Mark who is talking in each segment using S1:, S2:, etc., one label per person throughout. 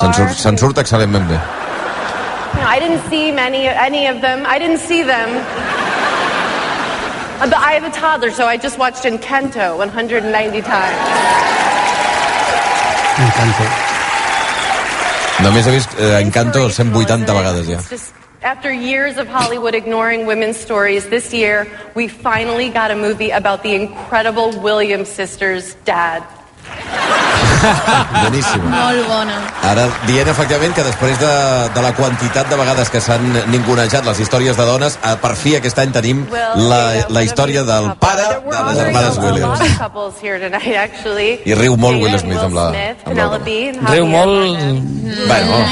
S1: Se'n surt, se'n surt excel·lentment bé.
S2: You know, I didn't see many, any of them. I didn't see them. Uh, But I have a toddler, so I just watched Encanto 190 times.
S3: M'encanta.
S1: Només he vist eh, Encanto 180 vegades ja.
S2: It's just after years of Hollywood ignoring women's stories, this year we finally got a movie about the incredible Williams sisters' dad.
S1: Boníssima.
S4: Molt bona.
S1: Ara, dient efectivament que després de, de la quantitat de vegades que s'han ningunejat les històries de dones, eh, per fi aquest any tenim la, la història del pare de les germanes Williams.
S2: Williams.
S1: I riu molt Will Smith amb la- amb la
S2: Penelope,
S5: Riu molt,
S1: Bueno,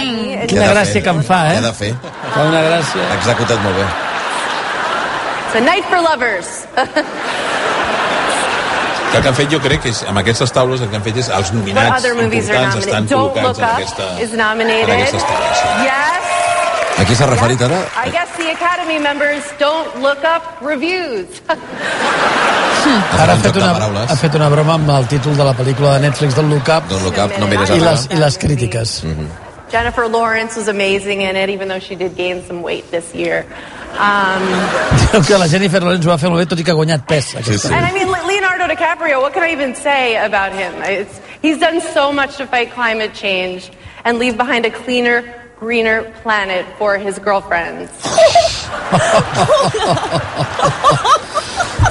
S1: què ha
S6: Mm.
S2: Quina
S1: de fer?
S5: gràcia que em fa, eh?
S1: Què ha de fer?
S5: fa una gràcia.
S1: Ha executat molt bé.
S2: It's a night for lovers.
S7: Que el que han fet jo crec que és, amb aquestes taules el que han fet és els
S2: What
S7: nominats
S2: other movies are
S7: importants estan
S2: nominated? Don't Look
S7: col·locats en
S2: Up
S7: aquesta,
S2: is
S7: en
S2: nominated.
S7: aquestes taules. sí.
S2: Yes.
S1: A qui s'ha referit ara?
S2: I guess the Academy members don't look up reviews.
S3: Ara ha
S1: un
S3: fet,
S1: joc de
S3: una,
S1: paraules.
S3: ha fet una broma amb el títol de la pel·lícula de Netflix del Look Up
S1: Don't look up, Mhm. no mires
S3: i
S1: ara.
S3: les, i les crítiques.
S2: Jennifer Lawrence was amazing in it, even though she did gain some weight this year. Um,
S3: Diu que la Jennifer Lawrence ho va fer molt bé, tot i que ha guanyat pes. Aquesta.
S1: sí.
S2: and I mean, Le- Leonardo DiCaprio, what can I even say about him? It's, he's done so much to fight climate change and leave behind a cleaner, greener planet for his girlfriends.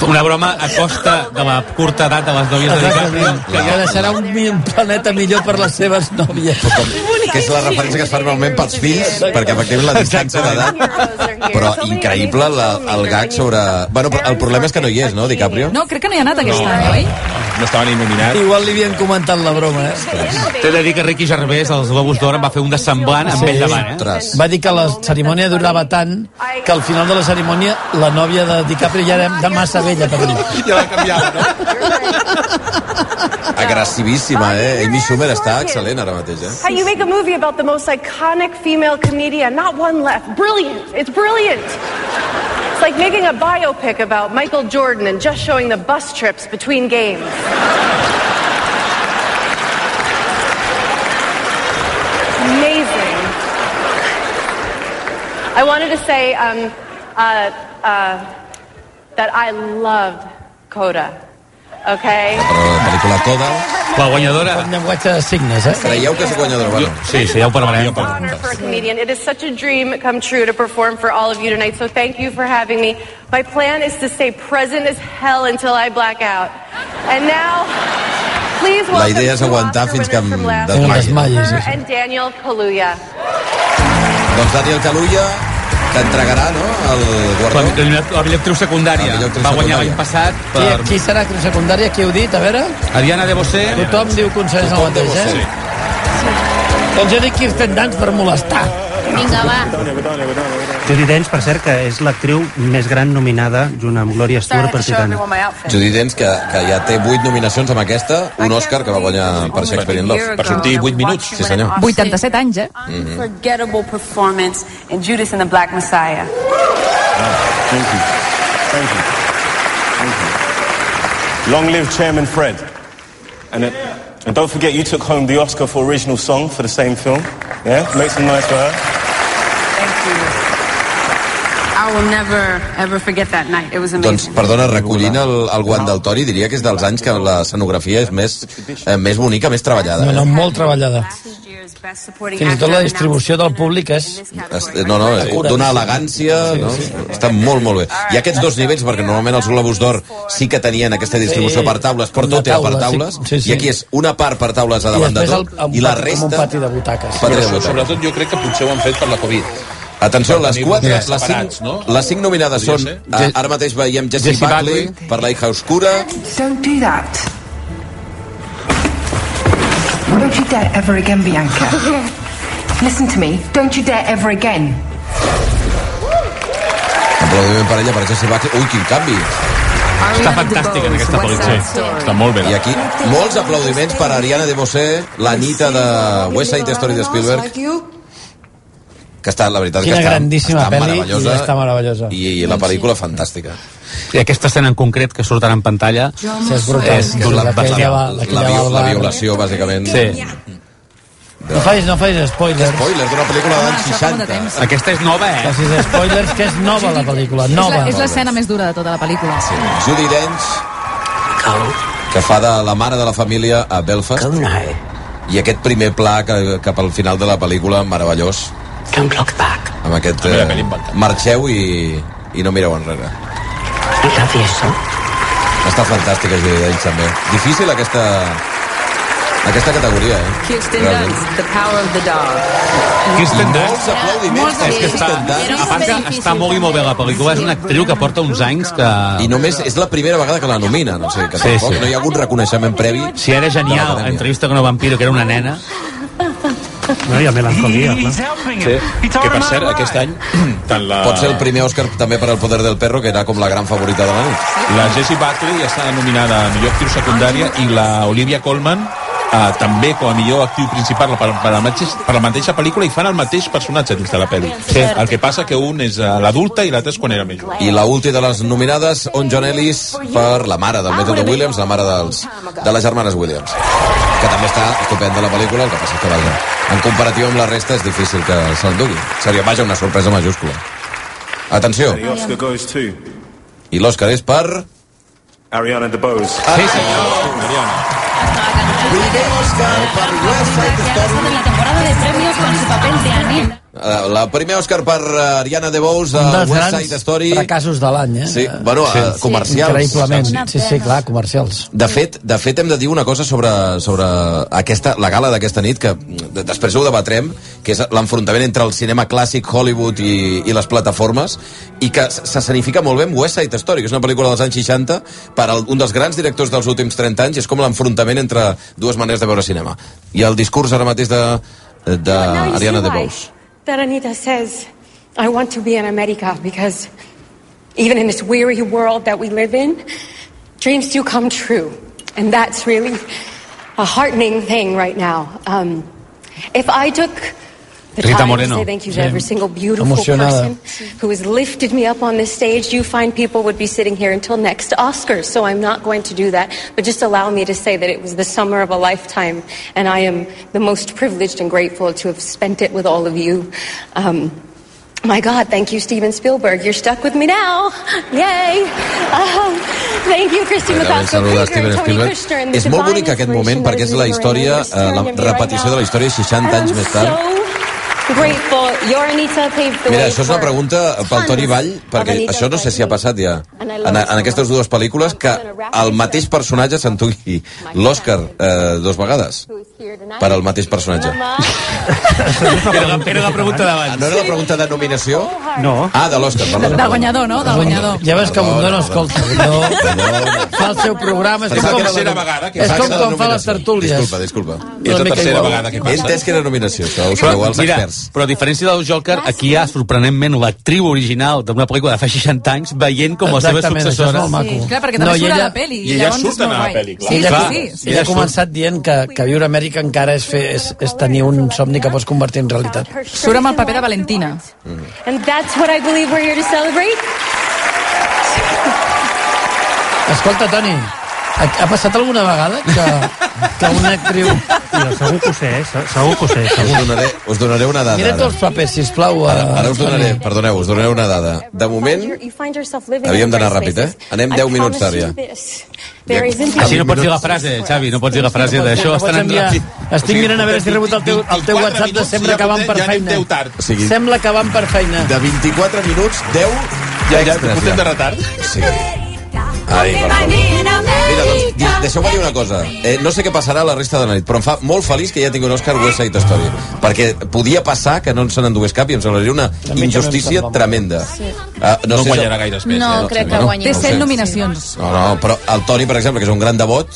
S6: Una broma a costa de la curta edat de les nòvies de DiCaprio.
S3: Exactament. Que ja deixarà un, mi- un planeta millor per les seves nòvies.
S1: Que és la referència que es fa normalment pels fills, perquè efectivament la distància d'edat... Però increïble la, el gag sobre... Bueno, però el problema és que no hi és, no, DiCaprio?
S4: No, crec que no hi ha anat aquest any, oi?
S7: No estava ni nominat.
S3: Igual li havien comentat la broma, eh?
S6: T'he de dir que Ricky Gervais, als Globus d'Or, en va fer un de semblant amb ell davant, eh?
S1: Ostres.
S3: Va dir que la cerimònia durava tant que al final de la cerimònia la nòvia de DiCaprio ja era de massa vella per mi.
S7: Ja l'ha canviat, no?
S1: Agressivíssima, eh? Amy Schumer està excel·lent ara mateix, eh?
S2: How you make a movie about the most iconic female comedian, not one left. Brilliant. It's brilliant. It's like making a biopic about Michael Jordan and just showing the bus trips between games. Amazing. I wanted to say um, uh, uh, that I loved Coda. Okay?
S1: Però la pel·lícula Coda...
S6: La guanyadora...
S3: Un llenguatge de signes, eh?
S1: Creieu que és guanyadora? Bueno,
S6: Sí, sí, ja ho parlarem.
S2: honor for a comedian. It is such a dream come true to perform for all of you tonight, so thank you for having me. My plan is to stay present as hell until I black out. And now, please
S1: La
S2: welcome
S1: idea és
S2: two
S1: aguantar
S2: Oscar
S1: fins que
S2: winners
S1: em
S2: from last
S1: desmaiï.
S2: year,
S3: Desmaiï, sí,
S2: Her
S3: sí.
S2: and Daniel Kaluuya.
S1: doncs Daniel Calulla t'entregarà, no?, el
S6: La,
S1: guardó.
S6: la, la millor actriu secundària.
S1: La millor actriu
S6: Va guanyar
S1: secundària.
S6: l'any passat
S3: Qui,
S6: per
S3: qui serà actriu secundària? Qui heu dit? A veure...
S6: Ariana de Bosé.
S3: Tothom diu consens el mateix, eh? Sí. Doncs jo dic Kirsten Dunst per molestar.
S4: Vinga, va.
S8: Judi Dench, per cert, que és l'actriu més gran nominada junt amb Gloria Stewart per Titanic.
S1: Judy Dench, que, que ja té 8 nominacions amb aquesta, un Òscar que va guanyar per Shakespeare in Love.
S7: Per sortir 8 minuts.
S1: Sí, senyor.
S4: 87 anys, eh?
S9: Unforgettable performance in Judas and the Black Messiah.
S10: Thank you. Thank you. Thank you. Long live Chairman Fred. And, it, and don't forget, you took home the Oscar for original song for the same film. Yeah? Make some noise for her.
S9: I will never, ever forget that night. It was
S1: Doncs,
S9: amazing.
S1: perdona, recollint el, el guant del Tori, diria que és dels anys que l'escenografia és més, eh, més bonica, més treballada.
S3: No, no,
S1: Eh?
S3: molt treballada. Fins i tot la distribució del públic és...
S1: Es- No, no, eh, d'una elegància, no? Està molt, molt bé. Hi ha aquests dos nivells, perquè normalment els Globus d'Or sí que tenien aquesta distribució
S3: Sí,
S1: per taules, però
S3: de
S1: tot era per
S3: taula, sí,
S1: taules,
S3: sí, sí.
S1: i aquí és una part per taules a
S3: I
S1: davant de
S3: després el,
S1: tot,
S3: el,
S1: i la
S3: com un
S1: resta...
S3: pati de butaques.
S1: Pati de
S7: Però
S1: butaques.
S7: sobretot jo crec que potser ho han fet per la Covid.
S1: Atenció,
S7: Per
S1: les
S7: tenir
S1: quatre,
S7: tres
S1: les cinc,
S7: separats, no?
S1: les cinc nominades
S7: Podria
S1: són...
S7: ser.
S1: eh, Ara mateix veiem Jessie
S6: Jessie
S1: Buckley
S6: Buckley.
S1: per La hija oscura,
S9: Don't do that. Don't you dare ever again, Bianca. Listen to me. Don't you dare ever again.
S1: aplaudiment per ella, per Jessie Buckley. Ui, quin canvi!
S6: Està fantàstica en aquesta pel·lícula. Està molt bé.
S1: I aquí molts aplaudiments per Ariana de Bosé, la nita de West Side Story de Spielberg, que està, la veritat,
S3: Quina
S1: que està,
S3: grandíssima
S1: està
S3: pel·li
S1: meravellosa,
S3: i està meravellosa.
S1: I, i la pel·lícula fantàstica.
S6: I aquesta escena en concret que surt ara en pantalla...
S3: Sí, és brutal.
S6: És
S3: Sí,
S6: la-
S3: la, que
S6: la-
S3: ella va-
S1: la,
S3: que ella va
S1: viol-
S3: al
S1: la
S3: bar.
S1: violació, bàsicament,
S6: Sí.
S3: No facis, no facis spoilers.
S1: Spoilers d'una pel·lícula
S4: Home,
S1: dels
S4: això fa molt
S1: 60.
S4: de temps.
S6: Aquesta és nova, eh?
S3: Facis spoilers, que és nova la pel·lícula,
S4: És la-
S3: nova.
S4: És l'escena més dura de tota la pel·lícula. Sí.
S1: Judy Dench, que fa de la mare de la família a Belfast. I aquest primer pla que, cap al final de la pel·lícula, meravellós,
S5: Don't look back.
S1: amb aquest... eh,
S7: A mi la peli em va encantar.
S1: marxeu i, i no mireu enrere.
S5: I love you so.
S1: Està fantàstica, Judy Dench, també. Difícil aquesta... Aquesta categoria, eh?
S11: Kirsten
S1: Realment.
S11: Dunst, The Power of the Dog.
S6: Kirsten Dunst.
S1: Molts aplaudiments.
S4: Molts
S1: per
S6: És que està,
S1: Kirsten Dunst.
S4: Era
S6: a part que
S4: difícil,
S6: està molt i molt bé la pel·lícula, és una actriu que porta uns anys que...
S1: I només és la primera vegada que la nomina, no sé, que
S6: Sí,
S1: tampoc
S6: sí.
S1: no hi ha algun reconeixement previ.
S6: Si era
S1: De
S6: genial,
S1: l'Acadèmia.
S6: entrevista con el vampiro, que era una nena.
S8: No, hi ha melancolia, clar.
S7: Sí. Que, per cert, aquest any, tant la...
S1: Pot ser el primer Òscar també per al Poder del Perro, que era com la gran favorita de la nit.
S7: La Jessie Buckley està nominada a millor actriu secundària i la Olivia Colman eh, també com a millor actiu principal per, per, la mateixa, per la mateixa pel·lícula i fan el mateix personatge dins de la pel·li. Sí. El que passa que un és eh, l'adulta i l'altre és quan era més jove.
S1: I la última de les nominades, on John Ellis per la mare del mètode Williams, la mare dels, de les germanes Williams. Que també està estupenda la pel·lícula, el que passa és que vaja, en comparatiu amb la resta és difícil que se'l dugui. Seria, vaja, una sorpresa majúscula. Atenció,
S10: The Oscar goes to
S1: i l'Òscar és per...
S10: Ariana DeBose.
S1: Ah,
S6: Sí, senyor.
S1: Primer Òscar per West Side Story.
S4: en la temporada de premios con su papel de Annie.
S1: Eh, La primer Òscar per eh, Ariana DeBose
S3: Un
S1: a
S3: dels
S1: West
S3: grans
S1: Side Story.
S3: fracassos de l'any, eh?
S1: Sí, bueno, sí. comercials.
S3: Increïblement. Sí, sí, clar, comercials.
S1: De fet, de fet hem de dir una cosa sobre, sobre aquesta, la gala d'aquesta nit, que mm, després ho debatrem, que és l'enfrontament entre el cinema clàssic Hollywood i, i les plataformes, i que s- s'escenifica molt bé amb West Side Story, que és una pel·lícula dels anys 60, per al, un dels grans directors dels últims 30 anys, i és com l'enfrontament entre dues maneres de veure cinema. I el discurs ara mateix de, de
S7: uh,
S1: Ariana DeBose.
S2: That Anita says, I want to be in America because even in this weary world that we live in, dreams do come true. And that's really a heartening thing right now. Um, if I took the
S6: Rita
S2: time
S6: Moreno.
S2: to say thank you to every single beautiful
S3: Emocionada.
S2: person who has lifted me up on this stage, you find people would be sitting here until next Oscars. So I'm not going to do that. But just allow me to say that it was the summer of a lifetime, and I am the most privileged and grateful to have spent it with all of you. Um, my God, thank you, Steven Spielberg. You're stuck with me now. Yay! Um, thank you, Christy
S1: Acabem
S2: McCoskey.
S1: saludar Steven
S2: Krieger, Tony
S1: Spielberg.
S2: Kushner, and the
S1: És molt
S2: divine
S1: bonic aquest
S2: inspiration
S1: moment
S2: that
S1: perquè és
S2: is
S1: la
S2: Lisa
S1: història,
S2: Marie
S1: eh, la
S2: Marie Marie
S1: repetició de la història 60 anys més tard.
S2: And I'm so grateful. Your Anita paved the
S1: Mira,
S2: way
S1: això és una
S2: for
S1: pregunta pel Toni
S2: tons
S1: Vall,
S2: of
S1: perquè
S2: Anita
S1: això no sé si ha passat ja en, en aquestes dues pel·lícules, que el mateix personatge s'entugui l'Oscar eh, dos vegades per al mateix personatge.
S6: Era la, era la pregunta
S1: Ah,
S6: d'abans.
S1: No era la pregunta de nominació?
S8: No,
S1: Ah, de l'Oscar, perdó.
S4: Del guanyador, no? Del guanyador.
S3: Ja veus que Bundó no escolta. No. Fa el seu programa. És
S1: Pensava
S3: com,
S1: que era
S7: tercera
S1: nom-
S7: vegada que
S3: és
S7: fa
S3: com
S1: Pensava que era
S3: quan fa les
S1: nominació.
S3: tertúlies.
S1: Disculpa, disculpa.
S7: És
S3: Una
S7: la
S3: mica
S7: tercera
S3: igual.
S7: vegada que
S1: He
S7: passa.
S1: entès que era nominació, això. Us creu als
S6: mira,
S1: experts.
S6: però a diferència del Joker, aquí hi ha sorprenentment l'actriu original d'una pel·lícula de fa 60 anys veient com la seva
S3: Exactament, això és
S6: successora...
S3: molt maco.
S4: Sí, clar, perquè també no,
S3: i
S4: surt
S3: ella-
S4: a la peli.
S7: i ella
S4: llavors és
S7: surt a
S4: molt
S7: la
S4: guai.
S7: peli, clar.
S4: Sí,
S3: Ella,
S4: ella,
S3: clar,
S4: sí,
S3: ella
S4: sí.
S6: Ella
S3: ha
S6: surt.
S3: començat dient que, que viure a Amèrica encara és, fer, és, és tenir un somni que pots convertir en realitat.
S4: Surt amb el paper de Valentina.
S2: And that's what I believe we're here to celebrate.
S3: Escolta, Toni, ha, ha passat alguna vegada que, que una actriu...
S8: jo segur que ho sé, eh? se- segur que ho sé.
S1: Us
S8: Segur.
S1: donaré, us donaré una dada.
S3: Mira
S1: ara.
S3: tots els papers, sisplau. eh,
S1: Ara, ara us
S3: Toni.
S1: donaré, perdoneu, us donaré una dada. De moment, havíem d'anar ràpid, eh? Anem 10 minuts tard, ja.
S6: Així no pots dir la frase, Xavi, no pots dir la frase d'això.
S3: Pots
S6: Estan
S3: enviar-
S6: ràpid.
S3: Estic mirant a veure si he rebut el teu- el teu
S7: 24
S3: WhatsApp de
S7: minuts,
S3: sembla
S7: ja
S3: que van per
S7: portem- ja anem
S3: feina.
S7: deu tard.
S1: O sigui,
S3: Sembla que van per feina.
S1: de 24 minuts, 10 ja,
S7: Ja,
S1: extres,
S7: portem de
S1: ja.
S7: retard.
S1: Sí. Ai, per favor. Mira, doncs, di- deixeu-me dir una cosa. Eh, no sé què passarà la resta de la nit, però em fa molt feliç que ja tingui un Òscar West Side Story. Perquè podia passar que no en se n'endugués cap i em semblaria una
S3: mi
S1: justícia
S3: també
S1: tremenda. Ah,
S7: No
S1: sé si-
S7: guanyarà gaires més.
S11: No,
S7: eh?
S11: crec
S1: no.
S11: que guanyi.
S4: Té
S1: ho
S4: set
S1: sé.
S4: nominacions.
S1: No, no, però el Toni, per exemple, que és un gran devot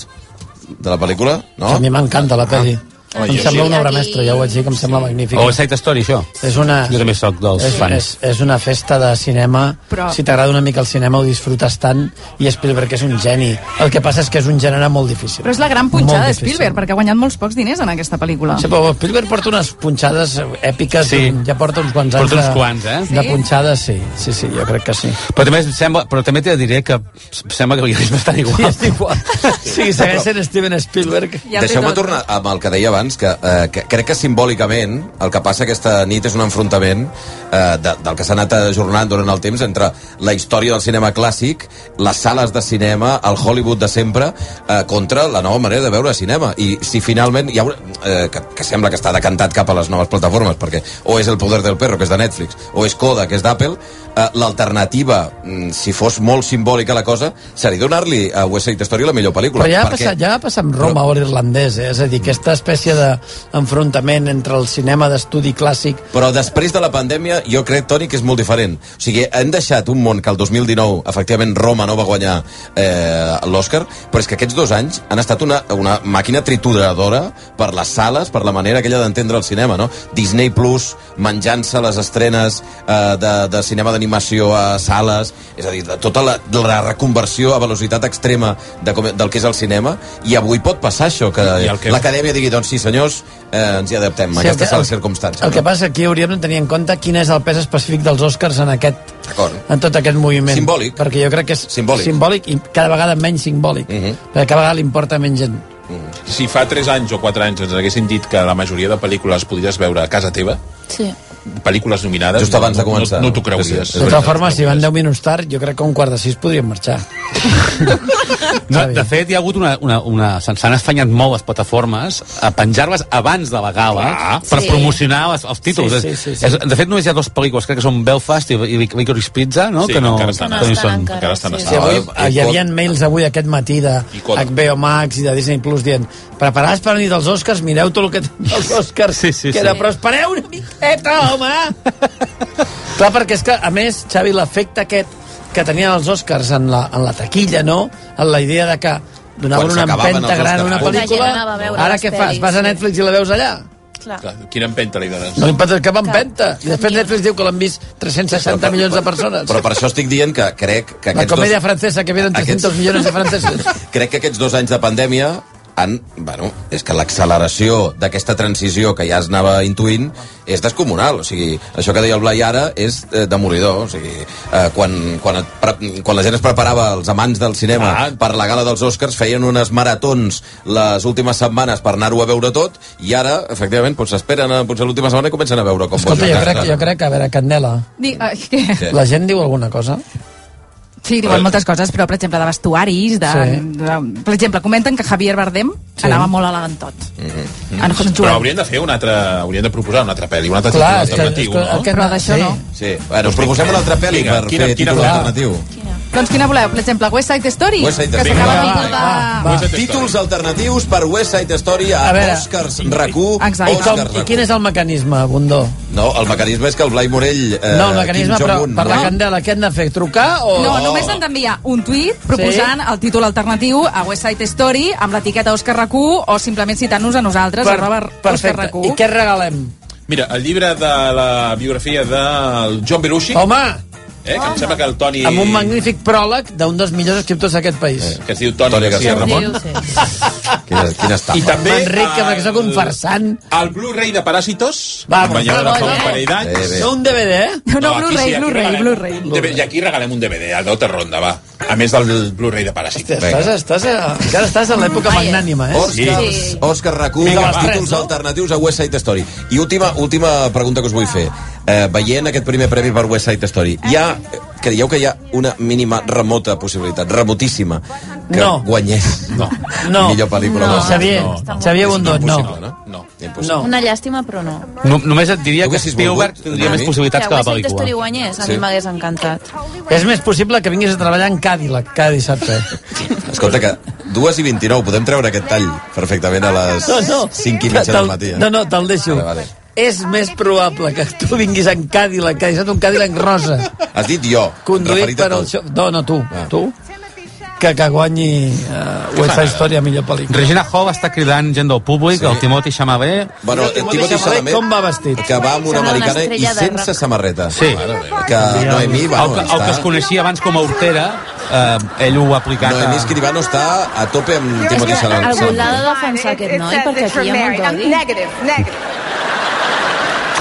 S1: de la pel·lícula, no?
S3: A mi m'encanta la pel·li.
S7: Home,
S3: Em
S7: jo
S3: sembla
S7: sí.
S3: una obra mestra, ja ho vaig dir, que em sembla magnífica.
S6: O Side Story, això.
S3: És una...
S6: Jo també soc dels
S3: és,
S6: fans.
S3: És, és una festa de cinema. Però...
S4: Però-
S3: Si t'agrada una mica el cinema, ho disfrutes tant. I Spielberg és un geni. El que passa és que és un gènere molt difícil.
S4: Però és la gran
S3: Molt
S4: punxada de
S3: difícil.
S4: Spielberg, perquè ha guanyat molts pocs diners en aquesta pel·lícula.
S3: Sí, però Spielberg porta unes punxades èpiques,
S6: Sí.
S3: ja porta uns quants anys
S6: Porta uns
S3: de,
S6: quants, eh?
S3: de punxades, sí. Sí, sí, jo crec que sí.
S6: Però també, sembla, però també te diré que sembla que li és bastant igual.
S3: Sí, segueix sent Steven Spielberg.
S4: Ja el té
S1: Deixeu-me
S4: tot.
S1: tornar amb el que deia abans abans, que, eh, que crec que simbòlicament el que passa aquesta nit és un enfrontament eh, de, del que s'ha anat ajornant durant el temps entre la història del cinema clàssic, les sales de cinema, el Hollywood de sempre, eh, contra la nova manera de veure cinema. I si finalment hi ha una, eh, que, que sembla que està decantat cap a les noves plataformes, perquè o és El poder del perro, que és de Netflix, o és Coda, que és d'Apple, eh, l'alternativa, mm, si fos molt simbòlica la cosa, seria donar-li a West Side Story la millor pel·lícula.
S3: Però ja va
S1: perquè-
S3: passar, ja va passar amb Roma o l'irlandès, eh? és a dir, aquesta espècie d'enfrontament entre el cinema d'estudi clàssic...
S1: Però després de la pandèmia, jo crec, Toni, que és molt diferent. O sigui, hem deixat un món que el 2019, efectivament, Roma no va guanyar eh, l'Oscar, però és que aquests dos anys han estat una, una màquina trituradora per les sales, per la manera aquella d'entendre el cinema, no? Disney Plus, menjant-se les estrenes eh, de, de cinema d'animació a sales, és a dir, de tota la, de la reconversió a velocitat extrema de com, del que és el cinema, i avui pot passar això, que,
S7: que-
S1: l'acadèmia digui, doncs sí, senyors, eh, ens hi adaptem,
S3: Sí,
S1: sí,
S3: el que-
S1: aquestes
S3: el-
S1: són les circumstàncies.
S3: El que passa aquí hauríem de tenir en compte quin és el pes específic dels Oscars en aquest
S1: D'acord.
S3: en tot aquest moviment.
S1: Simbòlic.
S3: Perquè jo crec que és
S1: Simbòlic. Mhm.
S3: simbòlic i cada vegada menys simbòlic. Uh -huh. Perquè cada vegada li importa menys gent.
S7: Si fa 3 anys o 4 anys ens haguessin dit que la majoria de pel·lícules podries veure a casa teva,
S4: Sí.
S7: pel·lícules nominades...
S1: Just abans de
S7: no-
S1: començar.
S7: No, no t'ho creuries.
S3: De tota forma, si van 10 minuts tard, jo crec que a un quart de sis podríem marxar.
S6: No, de fet, hi ha hagut una... una, una S'han s'han esfanyat molt les plataformes a penjar-les abans de la gala
S7: Clar.
S6: per
S7: Sí.
S6: promocionar els, els títols.
S7: Sí, sí, sí, sí.
S6: És, de fet, només hi ha dos pel·lícules, crec que són Belfast i, i Lic- Licorice Pizza, no?
S7: Sí,
S6: que no,
S7: que encara estan
S6: que
S7: a-
S6: no hi
S7: estan
S6: són.
S7: encara, Encara estan a sí,
S3: Sí, avui, eh, hi havia mails avui aquest matí de
S6: Coda.
S3: HBO Max i de Disney Plus dient preparats per la nit dels Oscars, mireu tot el que tenen els Oscars. Sí,
S6: sí,
S3: que era,
S6: sí.
S3: però espereu una miqueta, home! Clar, perquè és que, a més, Xavi, l'efecte aquest que tenien els Oscars en la, en la taquilla, no? En la idea de que donaven
S7: Quan
S3: una
S7: s'acabaven
S3: empenta
S7: els
S3: gran a
S7: Oscars.
S3: una
S7: La gent
S3: pel·lícula.
S12: anava a veure
S3: Ara
S12: les
S3: què fas?
S12: pel·lis,
S3: Vas
S12: sí.
S3: a Netflix i la veus allà? Ah.
S7: Clar, Quina empenta li dones.
S3: No li pots cap empenta. I després Netflix diu que l'han vist 360 milions de persones.
S1: Però per això estic dient que crec que
S3: La
S1: aquests
S3: comèdia
S1: dos,
S3: francesa que venen 300
S1: aquests-
S3: milions de francesos.
S1: crec que aquests dos anys de pandèmia han, bueno, és que l'acceleració d'aquesta transició que ja es anava intuint és descomunal, o sigui, això que deia el Blai ara és eh, demolidor, o sigui, eh, quan, quan, et, pre- quan la gent es preparava, els amants del cinema, ah. per la gala dels Oscars feien unes maratons les últimes setmanes per anar-ho a veure tot, i ara, efectivament, doncs s'esperen eh, potser l'última setmana i comencen a veure com
S3: Escolta, jo crec, jo crec que, a veure, Candela,
S4: Di, ah, què?
S3: la gent diu alguna cosa?
S4: Sí, diuen moltes coses, però, per exemple, de vestuaris, de,
S3: Sí.
S4: sí. de, per exemple, comenten que Javier Bardem sí. anava molt elegantot.
S6: Mm-hmm.
S4: En Hot
S7: Però
S4: Joel.
S7: haurien de fer una altra... Haurien de proposar una altra pel·li, un altre
S1: Clar,
S7: títol
S1: és que-
S7: alternatiu,
S1: és que-
S7: no?
S1: el que- Però
S4: d'això no.
S1: Sí, bueno, us proposem una altra pel·li
S7: Vinga,
S1: per
S7: quina-
S1: fer
S7: quina
S1: títol
S7: voleu?
S1: alternatiu.
S4: Doncs quina voleu? Per exemple, West Side Story?
S1: West Side
S4: que
S1: Story.
S4: s'acaba
S1: Vinga,
S4: amb
S1: va,
S4: tota-
S1: Va, títols alternatius per West Side Story a,
S3: A veure.
S1: Oscars RAC1,
S3: I, com,
S1: Oscars
S3: I quin
S1: RAC1.
S3: és el mecanisme, Bundó?
S1: No, el mecanisme és que el Blai Morell... Eh,
S3: no, el mecanisme,
S1: Kim
S3: però
S1: Jong-un,
S3: per la
S1: no?
S3: Candela, què han de fer? Trucar o...?
S4: No, només han d'enviar un tuit proposant el títol alternatiu a West Side Story amb l'etiqueta Òscar RAC1 o simplement citant-nos a nosaltres,
S3: Per-
S4: arroba Òscar
S3: Perfecte.
S4: RAC1.
S3: I què regalem?
S7: Mira, el llibre de la biografia del John Belushi...
S3: Home!
S7: Eh, que em sembla que el Toni...
S3: Amb un magnífic pròleg d'un dels millors escriptors d'aquest país.
S1: Eh.
S7: Que es diu Toni, Toni García Ramon.
S1: Quina, quina estafa.
S7: I també...
S3: Enric, que sóc un farsant.
S7: El Blu-ray de Paràsitos,
S3: Va,
S7: que em
S3: però
S7: va veure fa
S3: bé.
S7: un parell d'anys.
S3: No un DVD, eh?
S7: aquí
S3: Blu-ray,
S7: aquí
S3: Blu-ray,
S7: regalem
S3: Blu-ray.
S7: un DVD, I aquí regalem un DVD, el d'Otter Ronda, va. A més del Blu-ray de Paràsitos.
S3: Estàs, estàs, a- encara estàs en l'època magnànima, eh?
S1: Òscars, sí. Òscar RAC1,
S3: Vinga,
S1: els
S3: va.
S1: títols alternatius a West Side Story. I última, última pregunta que us vull fer. Eh, veient aquest primer premi per West Side Story, hi ha, creieu que hi ha una mínima remota possibilitat, remotíssima, que
S3: No.
S1: guanyés no.
S3: No.
S1: millor pel·lícula?
S3: No.
S1: d'Oscars?
S3: Xavier, Xavier Bundó, no.
S1: No.
S3: No.
S12: Una llàstima, però no.
S6: No, només et diria que
S1: volgut,
S6: Spielberg tindria
S1: Dani.
S6: més possibilitats que la
S12: West Side Story
S6: pel·lícula.
S12: guanyés, a
S6: Sí.
S12: mi m'hagués encantat.
S3: És més possible que vinguis a treballar en Cadillac cada dissabte.
S1: Escolta, que 2 i 29, podem treure aquest tall perfectament a les
S3: No, no.
S1: 5 i mitja
S3: Te'l-
S1: del matí. eh?
S3: No, no, te'l deixo.
S1: Vale, vale.
S3: És més probable que tu vinguis en Cadillac, que deixat un Cadillac rosa,
S1: Has dit jo.
S3: conduït
S1: referit a Ah.
S3: per el...
S1: tu.
S3: xo- No, no, tu, tu, que, que guanyi uh, West Side Story a millor pel·lícula.
S6: Regina Hall està cridant gent del públic, sí. el Timothy Chalamet...
S1: Bueno, eh, Timothy Chalamet,
S3: com va vestit?
S1: Que va amb
S3: Sembla
S1: una
S3: una
S1: americana i
S3: estrella de
S1: sense
S3: rock.
S1: samarreta.
S6: Sí.
S1: Que Noemí,
S6: el,
S1: bueno,
S6: que, el que es
S1: està...
S6: coneixia abans com a hortera, eh, ell ho ha aplicat...
S1: Noemí Escribano està a tope amb Timothy Chalamet.
S12: Algú l'ha de defensar aquest noi, perquè aquí hi ha molt d'odi.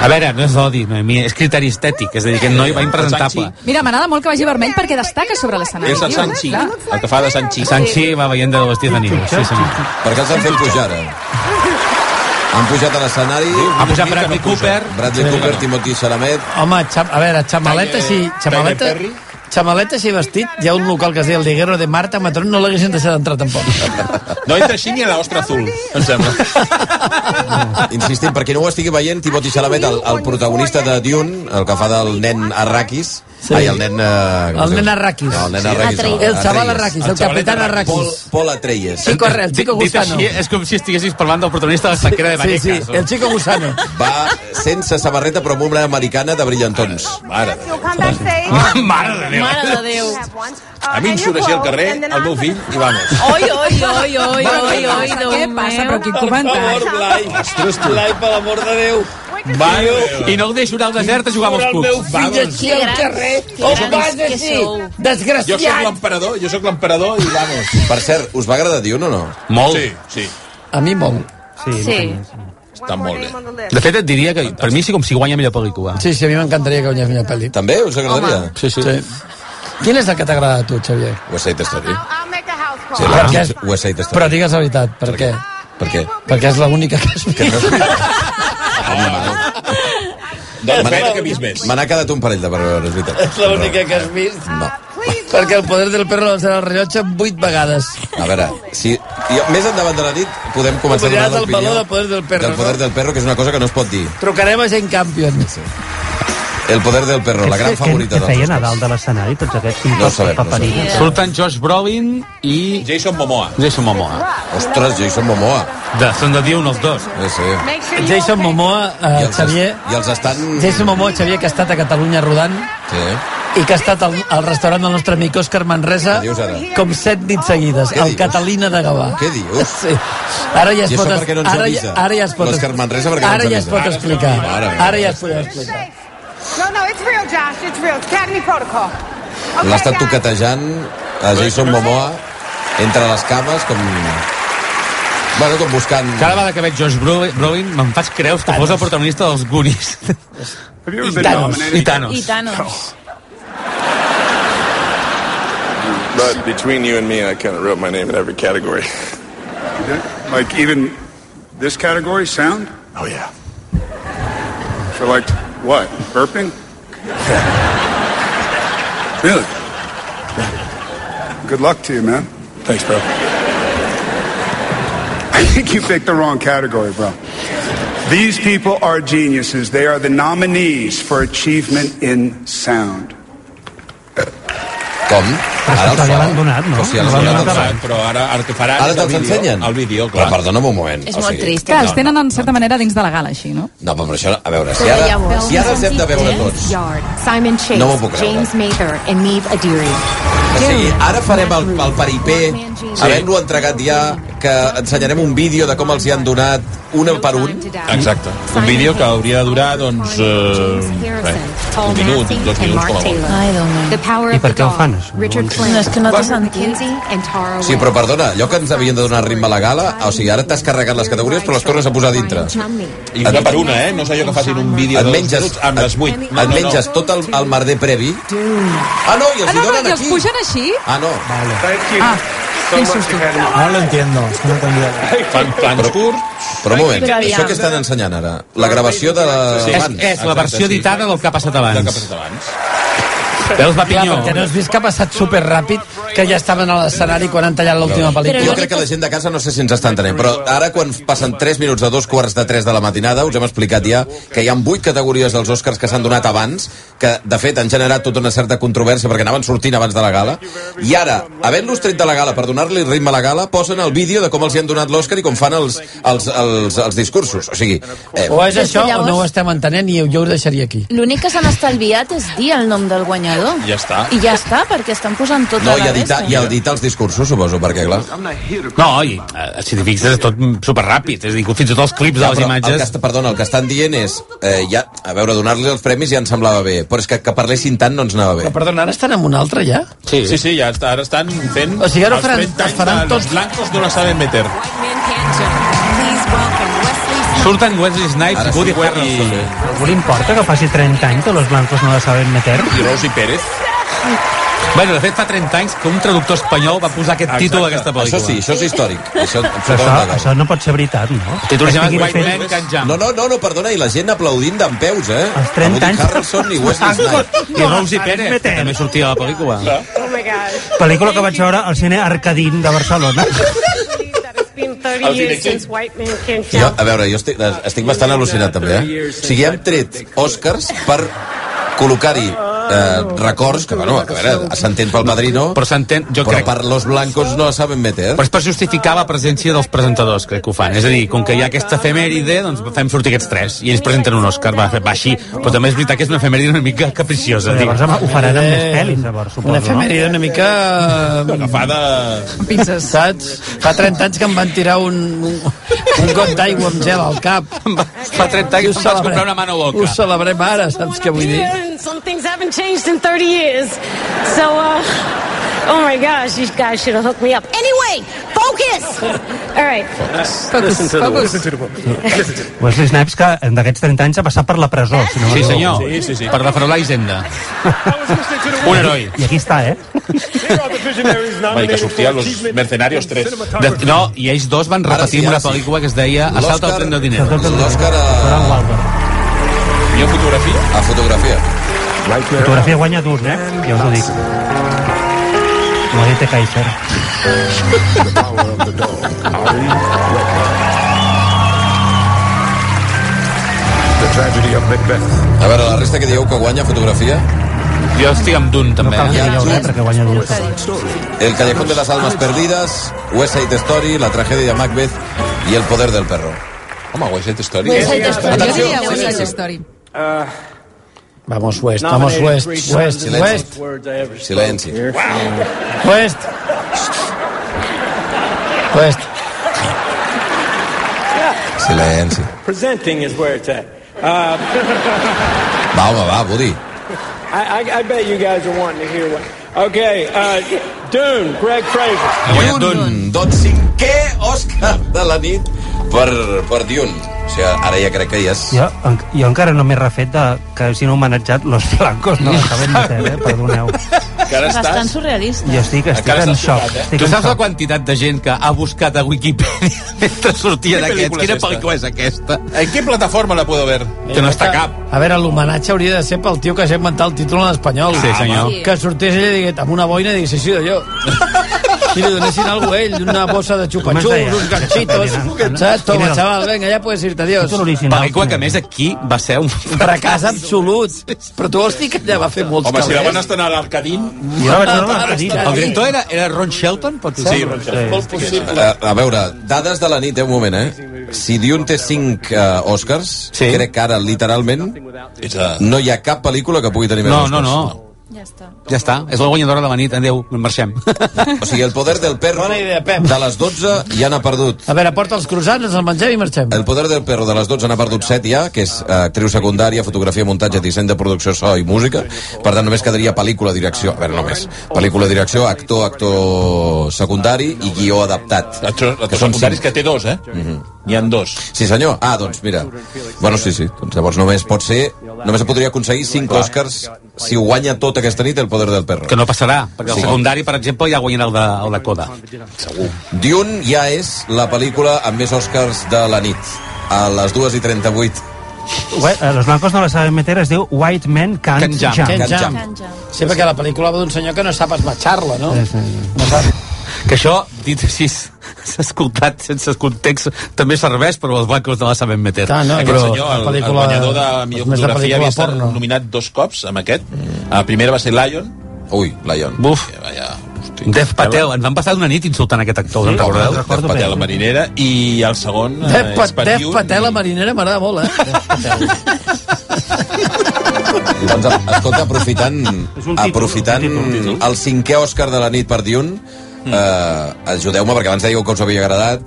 S6: A veure, no és odi, Noemí, és criteri estètic, és a dir, aquest noi va impresentable.
S4: Mira, m'agrada molt que vagi vermell perquè destaca sobre l'escenari.
S6: És el
S4: tio,
S6: Sanchi.
S4: clar.
S7: El que fa de Sanchi.
S6: Sanchi va veient de vestit de nil, sí senyor.
S1: Per què els han fet pujar, ara? eh? Han pujat a l'escenari...
S6: Ha pujat Bradley Cooper.
S1: Bradley
S6: Sí.
S1: Cooper, Timothy Chalamet...
S3: Home, xam, a veure, xamaletes i...
S1: Tyler-
S3: Xamaleta,
S1: Tyler Perry?
S3: xamaletes i vestit. Hi ha un local que es deia el Liguero de Marta Matrón, no l'haguessin deixat entrar tampoc.
S7: No entra així ni a l'ostra azul, em sembla.
S1: Insistim, per qui no ho estigui veient, Timothy Chalamet, el, el protagonista de Dune, el que fa del nen Arrakis...
S3: Sí.
S1: Ai, el nen... Eh,
S3: El
S1: com es diu?
S3: nen Arrakis.
S1: No, el nen Arrakis. no,
S3: El xaval
S1: Atreides.
S3: Arrakis, el capitán
S1: xavalet
S3: Arrakis.
S1: Paul, Paul Atreides.
S3: Chico Arre- el Chico
S1: Dit- dit
S3: Gusano.
S1: així,
S6: És com si estiguessis parlant del protagonista de la Saquera de
S1: Sí,
S6: Vallecas.
S1: sí, el
S3: Chico Gusano.
S1: Va sense samarreta, però amb una americana de brillantons. Mare de
S6: oh.
S1: Déu. Mare de
S12: Mare de Déu.
S7: A mi em surt així al carrer el meu fill i vamos.
S12: Oi, oi, oi, oi,
S4: Bueno,
S12: oi,
S4: què
S12: oi,
S4: passa?
S12: Déu
S4: Què passa? Però quin comentari.
S7: Ostres, tu.
S3: Blai, per l'amor de Déu.
S6: Vale. I no el deixo anar al desert a jugar amb els
S7: Surt el
S6: cucs.
S7: meu fill
S6: Vamos.
S7: aquí al
S3: grans, carrer.
S7: que
S3: Os
S7: grans
S3: vas
S7: que
S3: així,
S7: sou. Jo
S3: desgraciats.
S7: sóc l'emperador, jo sóc l'emperador i vamos.
S1: Per cert, us va agradar Dune o no?
S6: Molt.
S7: Sí, sí.
S3: A mi molt.
S12: Sí.
S7: Està molt bé.
S6: De fet, et diria que per mi sí com si guanya millor pel·lícula.
S3: Sí, sí, a mi m'encantaria que guanyés millor pel·li.
S1: També us agradaria?
S6: Sí, sí. sí.
S3: Quin és el que t'agrada a tu, Xavier?
S1: West Side Story. Sí,
S3: Per què?
S1: és West Side Story.
S3: Però digues la veritat, per què?
S1: Per què?
S3: Perquè és l'única que has vist.
S7: Doncs
S1: Me n'ha-
S7: espera que he vist més.
S1: Me n'ha quedat un parell de per veure, és veritat.
S3: És l'única que has vist.
S1: No.
S3: Perquè el poder del perro serà el rellotge vuit vegades.
S1: A veure, si, jo, més endavant de la nit podem començar a
S3: Podràs
S1: donar
S3: el valor
S1: l'opinió
S3: del poder del perro,
S1: del poder
S3: no?
S1: del perro, que és una cosa que no es pot dir.
S3: Trucarem a Jane Campion.
S1: El poder del perro, la gran favorita
S8: Que feien
S1: dels
S8: a dalt de l'escenari tots aquests
S1: No ho sabem, no ho
S8: paperines.
S1: sabem.
S6: Surten Josh Brolin i
S7: Jason Momoa.
S6: Jason Momoa.
S1: Ostres, Jason Momoa.
S6: De, són de dir
S13: um,
S6: un els dos.
S1: Sí, sí.
S3: Jason Momoa,
S1: I
S3: eh,
S1: els,
S3: Xavier...
S1: I els estan...
S3: Jason Momoa, Xavier, que ha estat a Catalunya rodant
S1: Sí.
S3: i que ha estat al, al restaurant del nostre amic Òscar Manresa
S1: Què dius ara?
S3: com set nits seguides,
S1: Què
S3: al
S1: dius?
S3: Catalina de Gavà.
S1: Què dius?
S3: Sí. Ara ja es
S1: I això
S3: pot,
S1: per què no ens
S3: ara,
S1: avisa?
S3: ja- ara ja es pot,
S1: L'Òscar Manresa per què no
S3: ara
S1: ens
S3: ja es
S1: avisa?
S3: pot explicar.
S1: Mare meva.
S3: Ara ja es pot explicar.
S11: No, no, it's real, Josh. It's real. It's Academy protocol. Okay,
S1: L'ha estat
S11: guys.
S1: toquetejant a Jason Momoa entre les cames, com... Bueno, com buscant...
S6: Cada vegada que veig Josh Bro- Brolin me'n faig creus que fos el protagonista dels Goonies.
S3: I Thanos.
S6: I Thanos.
S12: I Thanos.
S13: But between you and me, I kind of wrote my name in every category.
S14: Like even this category, sound?
S13: Oh, yeah.
S14: For like what? Burping? really? Good luck to you, man.
S13: Thanks, bro.
S14: I think you picked the wrong category, bro. These people are geniuses. They are the nominees for achievement in sound.
S1: Com? Ara
S8: Però ja l'han donat, no?
S1: Però si ja
S8: Ja
S1: l'han
S8: l'han
S1: donat, el
S7: Ara,
S1: fan.
S7: però ara, ara que farà
S1: Ara
S7: és el
S1: te'ls
S7: vídeo.
S1: ensenyen?
S7: El vídeo, clar.
S1: Però perdona'm un moment.
S12: És
S1: o
S12: molt
S1: sigui,
S12: trist. eh?
S4: Que els tenen, en certa manera, dins de la gala, així, no?
S1: No, però això... A veure, si
S15: Però
S1: ara,
S15: llavors-
S1: si ara els hem de veure
S12: eh?
S1: tots...
S15: Yard, Simon Chase,
S1: No m'ho puc creure.
S15: James Mather and Neve Adiri.
S1: O sigui, ara farem el, el peripé, havent-lo entregat ja, que ensenyarem un vídeo de com els hi han donat un per un.
S7: Exacte. Un vídeo que hauria de durar, doncs, eh, res, un minut, dos minuts, com a molt.
S12: Ai, Déu meu.
S15: The power
S8: I
S15: of
S8: per
S15: the
S8: què ho
S15: dog.
S8: fan, això?
S15: Richard Clancy,
S12: No, és que no té
S15: Robert
S12: sentit.
S15: McKenzie and Tara
S1: Sí, però perdona, allò que ens havien de donar ritme a la gala, o sigui, ara t'has carregat les categories però les tornes a posar a dintre.
S7: I una per una, eh? No és allò que facin un vídeo
S1: Et
S7: de dos
S1: menges,
S7: minuts amb les vuit.
S1: et, et menges tot el, el merder previ. Ah, no, i els
S4: Ah,
S1: hi
S4: no, no,
S1: donen
S4: i els
S1: aquí.
S4: pugen així?
S1: Ah, no.
S14: Thank you
S4: Ah,
S14: so
S4: quin
S14: much,
S4: susto.
S14: Academy.
S16: No lo Ah, entiendo. No tendría...
S7: Fan plans curts.
S1: Però un moment,
S12: Però aviam.
S1: això que estan ensenyant ara, la Ah, gravació de...
S6: Sí, és, és la versió editada del que eh? ha passat
S7: Del que ha
S6: abans.
S7: passat abans.
S6: Veus,
S3: Clar,
S6: Vapinyó?
S3: perquè no has vist que ha passat superràpid que ja estaven a l'escenari quan han tallat l'última pel·lícula.
S1: Jo crec que la gent de casa no sé si ens està entenent, però ara quan passen 3 minuts de dos quarts de 3 de la matinada us hem explicat ja que hi ha 8 categories dels Oscars que s'han donat abans, que de fet han generat tota una certa controvèrsia perquè anaven sortint abans de la gala, i ara, havent-los tret de la gala per donar-li ritme a la gala, posen el vídeo de com els hi han donat l'Oscar i com fan els, els, els, els discursos. O sigui, eh,
S3: O és
S12: Però és que
S3: això o
S12: llavors-
S3: no ho estem entenent i jo ho deixaria aquí.
S12: L'únic que s'han estalviat és dir el nom del guanyador.
S7: Ja està.
S12: I ja està, perquè estan posant tota
S1: no, i
S12: la
S1: editar, i editar els discursos, suposo, perquè clar...
S6: No, i eh, si t'hi fixes és tot superràpid. És a dir, fins i tot els clips de les
S1: però El que,
S6: imatges...
S1: està- perdona, el que estan dient és... Eh, ja, a veure, donar-li els premis ja ens semblava bé, però és que, que parlessin tant no ens anava bé.
S3: Però, perdona, ara estan amb una altra ja?
S7: Sí, sí, ja està, ara estan fent...
S3: O sigui, ara ho
S7: els
S3: faran-
S7: 30 anys
S3: es faran
S7: de
S3: tots-
S7: Los blancos no la saben meter.
S6: Surten Wesley Snipes i Woody Harrelson.
S8: Algú li importa que faci 30 anys que los blancos no la saben meter?
S7: I Rosy Pérez.
S6: Bueno, de fet, fa 30 anys que un traductor espanyol va posar aquest
S7: Exacte.
S6: títol a aquesta pel·lícula.
S1: Això sí, això és històric. Això,
S8: Però això, això no pot ser veritat, no?
S6: títol
S8: Que
S6: original
S8: estiguin
S6: White
S8: fent-
S6: Man Can Jump.
S1: No, no, no, no, perdona, i la gent aplaudint d'en peus, eh? Els
S8: 30 anys.
S1: Harrelson i Wesley Snipes.
S6: I Rosie Pérez, que també sortia a la pel·lícula.
S11: Oh my gosh.
S8: Pel·lícula que vaig veure al cine Arcadín de Barcelona.
S11: It's been 30
S1: I'll be the
S11: years
S1: king.
S11: since white men can't
S1: Jo,
S11: jump.
S1: a veure, jo estic, estic bastant al·lucinat també, eh? O sigui, hem tret Oscars per col·locar-hi eh, records, que bueno, a veure, s'entén pel padrino,
S6: Però s'entén, jo
S1: però
S6: crec...
S1: per los blancos no la saben meter.
S6: Però és per justificar la presència dels presentadors, crec que ho fan. És a dir, com que hi ha aquesta efemèride, doncs fem sortir aquests tres. I ells presenten un Òscar, va, va així. Però també és veritat que és una efemèride una mica capriciosa.
S8: Llavors home, ho faran amb més pel·lis, llavors,
S3: Una
S8: suposo, no?
S3: efemèride una mica...
S7: Agafada...
S4: Pinces.
S3: Saps? Fa 30 anys que em van tirar un, un, un got d'aigua amb gel al cap. Fa
S6: 30 anys que em vas comprar una mano loca.
S3: Ho celebrem ara, saps què vull dir?
S11: And some things haven't changed in 30 years. So, uh, oh my gosh, these guys should have hooked me up. Anyway, focus! All right.
S4: Focus, focus.
S8: Wesley Snipes, que en d'aquests 30 anys ha passat per la presó, si no
S6: Sí,
S8: m'equivoco.
S6: senyor.
S7: Sí, sí, sí.
S6: Per defraudar Hisenda. Un heroi.
S8: I aquí està, eh?
S7: Va dir que sortia Los Mercenarios 3.
S6: De, no, i ells dos van
S1: Ara
S6: repetir
S1: sí, ara
S6: una
S1: sí.
S6: pel·lícula que es deia Assalta al
S1: L'Òscar-
S6: tren de diner.
S8: S'ha tot el
S1: L'Òscar a,
S8: Doran Wilder.
S7: Millor fotografia?
S1: a fotografia.
S8: Fotografia guanya durs, eh? Ja us ho dic. M'ho ha dit Kaiser.
S1: A veure, la resta que dieu que guanya fotografia,
S6: Jo estic amb d'un, també. eh?
S8: Cal que
S1: Ja,
S8: digueu
S1: tu-
S8: res, perquè guanya durs.
S1: El Callejón de las Almas Perdidas, West Side Story, La Tragedia de Macbeth i El Poder del Perro. Home, West Side Story.
S12: West Side Story.
S4: Jo
S1: Atenció,
S4: diria West Side
S1: silenci.
S4: Story.
S3: Vamos West, vamos West, West,
S1: Silenci.
S3: West,
S1: Silenci.
S3: West. West.
S1: Silenci.
S16: Presenting is where it's at. Uh,
S1: Va, home, va, Budi.
S16: I, I, I bet you guys are wanting to hear what. Okay, uh, Dune, Greg Fraser.
S6: Ha guanyat d'un.
S1: Dune, doncs cinquè Òscar de la nit per, per Dune. O sigui, ara ja crec que ja és...
S8: Jo, en, jo encara no m'he refet de, que si no homenatjat los blancos no la saben meter, eh? Perdoneu.
S7: Que ara
S12: Bastant
S7: estàs...
S12: surrealista.
S8: Jo estic, estic
S7: Encara
S8: en
S7: estàs
S8: xoc.
S7: xocat, eh?
S8: Estic
S6: Tu
S8: en
S6: saps la
S8: xoc.
S6: quantitat de gent que ha buscat a Wikipedia mentre sortia
S7: Quina
S6: d'aquests?
S7: pel·lícula
S6: Quina
S7: és esta?
S6: pel·lícula és aquesta?
S7: En què plataforma la puedo ver?
S6: Que no està a cap.
S3: A veure, l'homenatge hauria de ser pel tio que s'ha inventat el títol en espanyol.
S6: Sí, senyor.
S3: Home. Que sortés ell i digués, amb una boina i digués, sí, sí, d'allò. I li donessin alguna ell, una bossa de
S8: Com es deia?
S3: xupa-xups, uns ganxitos.
S8: Quina
S3: Saps? Toma,
S8: era?
S3: xaval, venga, ja puedes irte, adiós.
S8: Títol original.
S6: Pel·lícula que, a més, aquí va ser un...
S3: Fracàs absolut. Però tu vols dir que allà va fer molts
S7: Home, si la van
S3: calés?
S7: estrenar a l'Arcadín...
S8: Jo la vaig veure a
S3: Ah,
S8: l'Arcadí.
S3: està
S6: El director era, era Ron Shelton, pot ser?
S7: Sí, molt possible.
S1: A, a veure, dades de la nit, eh, un moment, eh? Si Dune té 5 eh, Oscars,
S6: Sí.
S1: crec que ara, literalment,
S7: Ets a...
S1: no hi ha cap pel·lícula que pugui tenir més
S6: No,
S1: Oscars.
S6: no, no.
S4: Ja està.
S6: Ja està, és la guanyadora de la nit. Adéu, marxem.
S1: O sigui, El Poder del Perro,
S3: Bona idea, Pep.
S1: de les 12, ja n'ha perdut
S3: A veure, porta els croissants, ens el mengem i marxem.
S1: El poder del perro de les 12 n'ha perdut 7 ja, que és eh, actriu secundària, fotografia, muntatge, disseny de producció, so i música. Per tant, només quedaria pel·lícula, direcció... A veure, només. Pel·lícula, direcció, actor, actor secundari i guió adaptat.
S7: Això,
S1: Que
S7: que
S1: són
S7: són secundaris
S1: cinc.
S7: que té dos, eh? Mm
S3: Mm-hmm.
S7: -hmm. N'hi han dos.
S1: Sí, senyor. Ah, doncs mira. Bueno, sí, sí. Doncs llavors només pot ser... Només se podria aconseguir 5 Oscars si ho guanya tot aquesta nit el poder del perro.
S6: Que no passarà, perquè
S1: Sí.
S6: el secundari, per exemple, ja guanyarà el de, el de Coda.
S1: Dune ja és la pel·lícula amb més Oscars de la nit. A les 2 i 38.
S8: Ué, eh, Los blancos no la saben meter, es diu White Men Can't,
S6: Can't Jump.
S8: Jump.
S3: Ken
S1: Ken
S3: Jam.
S12: Jam.
S3: Sí, perquè la pel·lícula va d'un senyor que no sap esmatxar-la, no?
S8: Sí, sí.
S3: No sap.
S6: Que això, dit així, s'ha escoltat sense context, també serveix, però els blancos no la saben meter.
S3: Ah, no,
S7: Aquest
S3: però
S7: senyor, el,
S3: la
S7: el
S3: pel·lícula-
S7: guanyador de millor
S3: és més de
S7: fotografia, havia
S3: pel·lícula
S7: estat
S3: porno.
S7: nominat dos cops amb aquest. La primera va ser Lion.
S1: Ui, Lion.
S6: Buf,
S7: que Vaya, hosti.
S6: Dev Patel, ens van passar una nit insultant aquest actor, sí? recordeu?
S8: Recordo
S7: Dev Patel,
S8: bé.
S7: la marinera. I el segon eh,
S3: Def,
S7: és
S3: pa, Def
S7: Patiun
S3: Patel, la
S7: i-
S3: marinera, m'agrada molt, eh? Def Patel.
S1: Doncs, escolta, aprofitant,
S8: És un títol,
S1: aprofitant
S8: un títol, Mm. un
S1: el cinquè Òscar de la nit per Dune, eh, ajudeu-me, perquè abans dèieu que us havia agradat.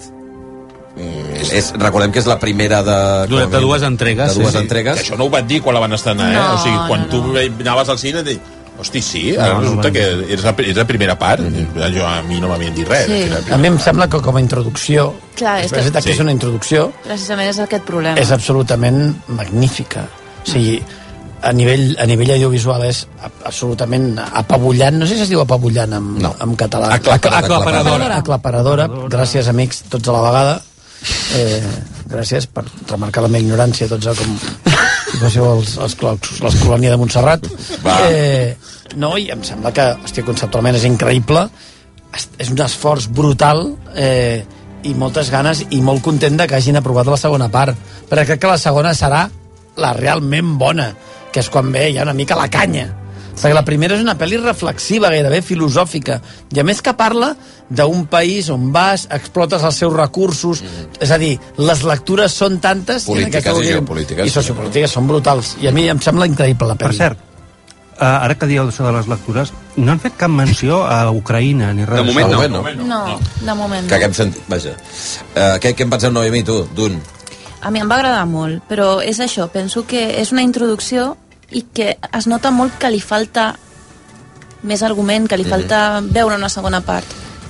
S1: Mm, és, recordem que és la primera de...
S6: De- de dues entregues,
S1: De dues
S6: sí, sí.
S1: entregues.
S7: Que això no ho van dir quan la van estrenar, eh?
S12: No,
S7: o sigui, quan
S12: no,
S7: tu anaves al cine, deies, hosti, sí, ara
S8: No, no
S7: resulta
S8: van
S7: que és la, és la primera part. Jo, a mi no m'havien dit res.
S12: Sí.
S7: que era la
S3: A
S7: primera.
S3: mi em sembla que com a introducció,
S12: Clar, és
S3: és, que...
S7: Sí.
S3: és una introducció,
S12: Precisament és aquest problema.
S3: és absolutament magnífica. O sigui, a nivell, a nivell audiovisual és a- absolutament apabullant, no sé si es diu apabullant en, no. en català.
S6: Aclaparadora. Aclaparadora.
S3: Aclaparadora. Gràcies, amics, tots a la vegada. Eh, gràcies per remarcar la meva ignorància, tots a com... Si fóssiu els, els clocs, l'escolònia de Montserrat.
S17: Va.
S3: Eh, no, i em sembla que, hòstia, conceptualment és increïble. Es- És un esforç brutal eh, i moltes ganes i molt content de que hagin aprovat la segona part. Però crec que la segona serà la realment bona, que és quan ve ja una mica la canya. Perquè la primera és una pel·li reflexiva, gairebé filosòfica, i a més que parla d'un país on vas, explotes els seus recursos, és a dir, les lectures són tantes... i en
S17: Polítiques
S3: aquesta
S17: i
S3: hauríem-
S17: geopolítiques.
S3: I sociopolítiques, són brutals. I a mi em sembla increïble la pel·li.
S8: Per cert, eh, ara que dieu això de les lectures, no han fet cap menció a Ucraïna ni res.
S17: De moment, no. De moment, no.
S12: No, de moment.
S17: Que haguem sentit... Vaja. Uh, què, què en penseu, Noemi, tu, d'un?
S12: A mi em va agradar molt, però és això, penso que és una introducció i que es nota molt que li falta més argument, que li
S17: Mhm.
S12: falta veure una segona part.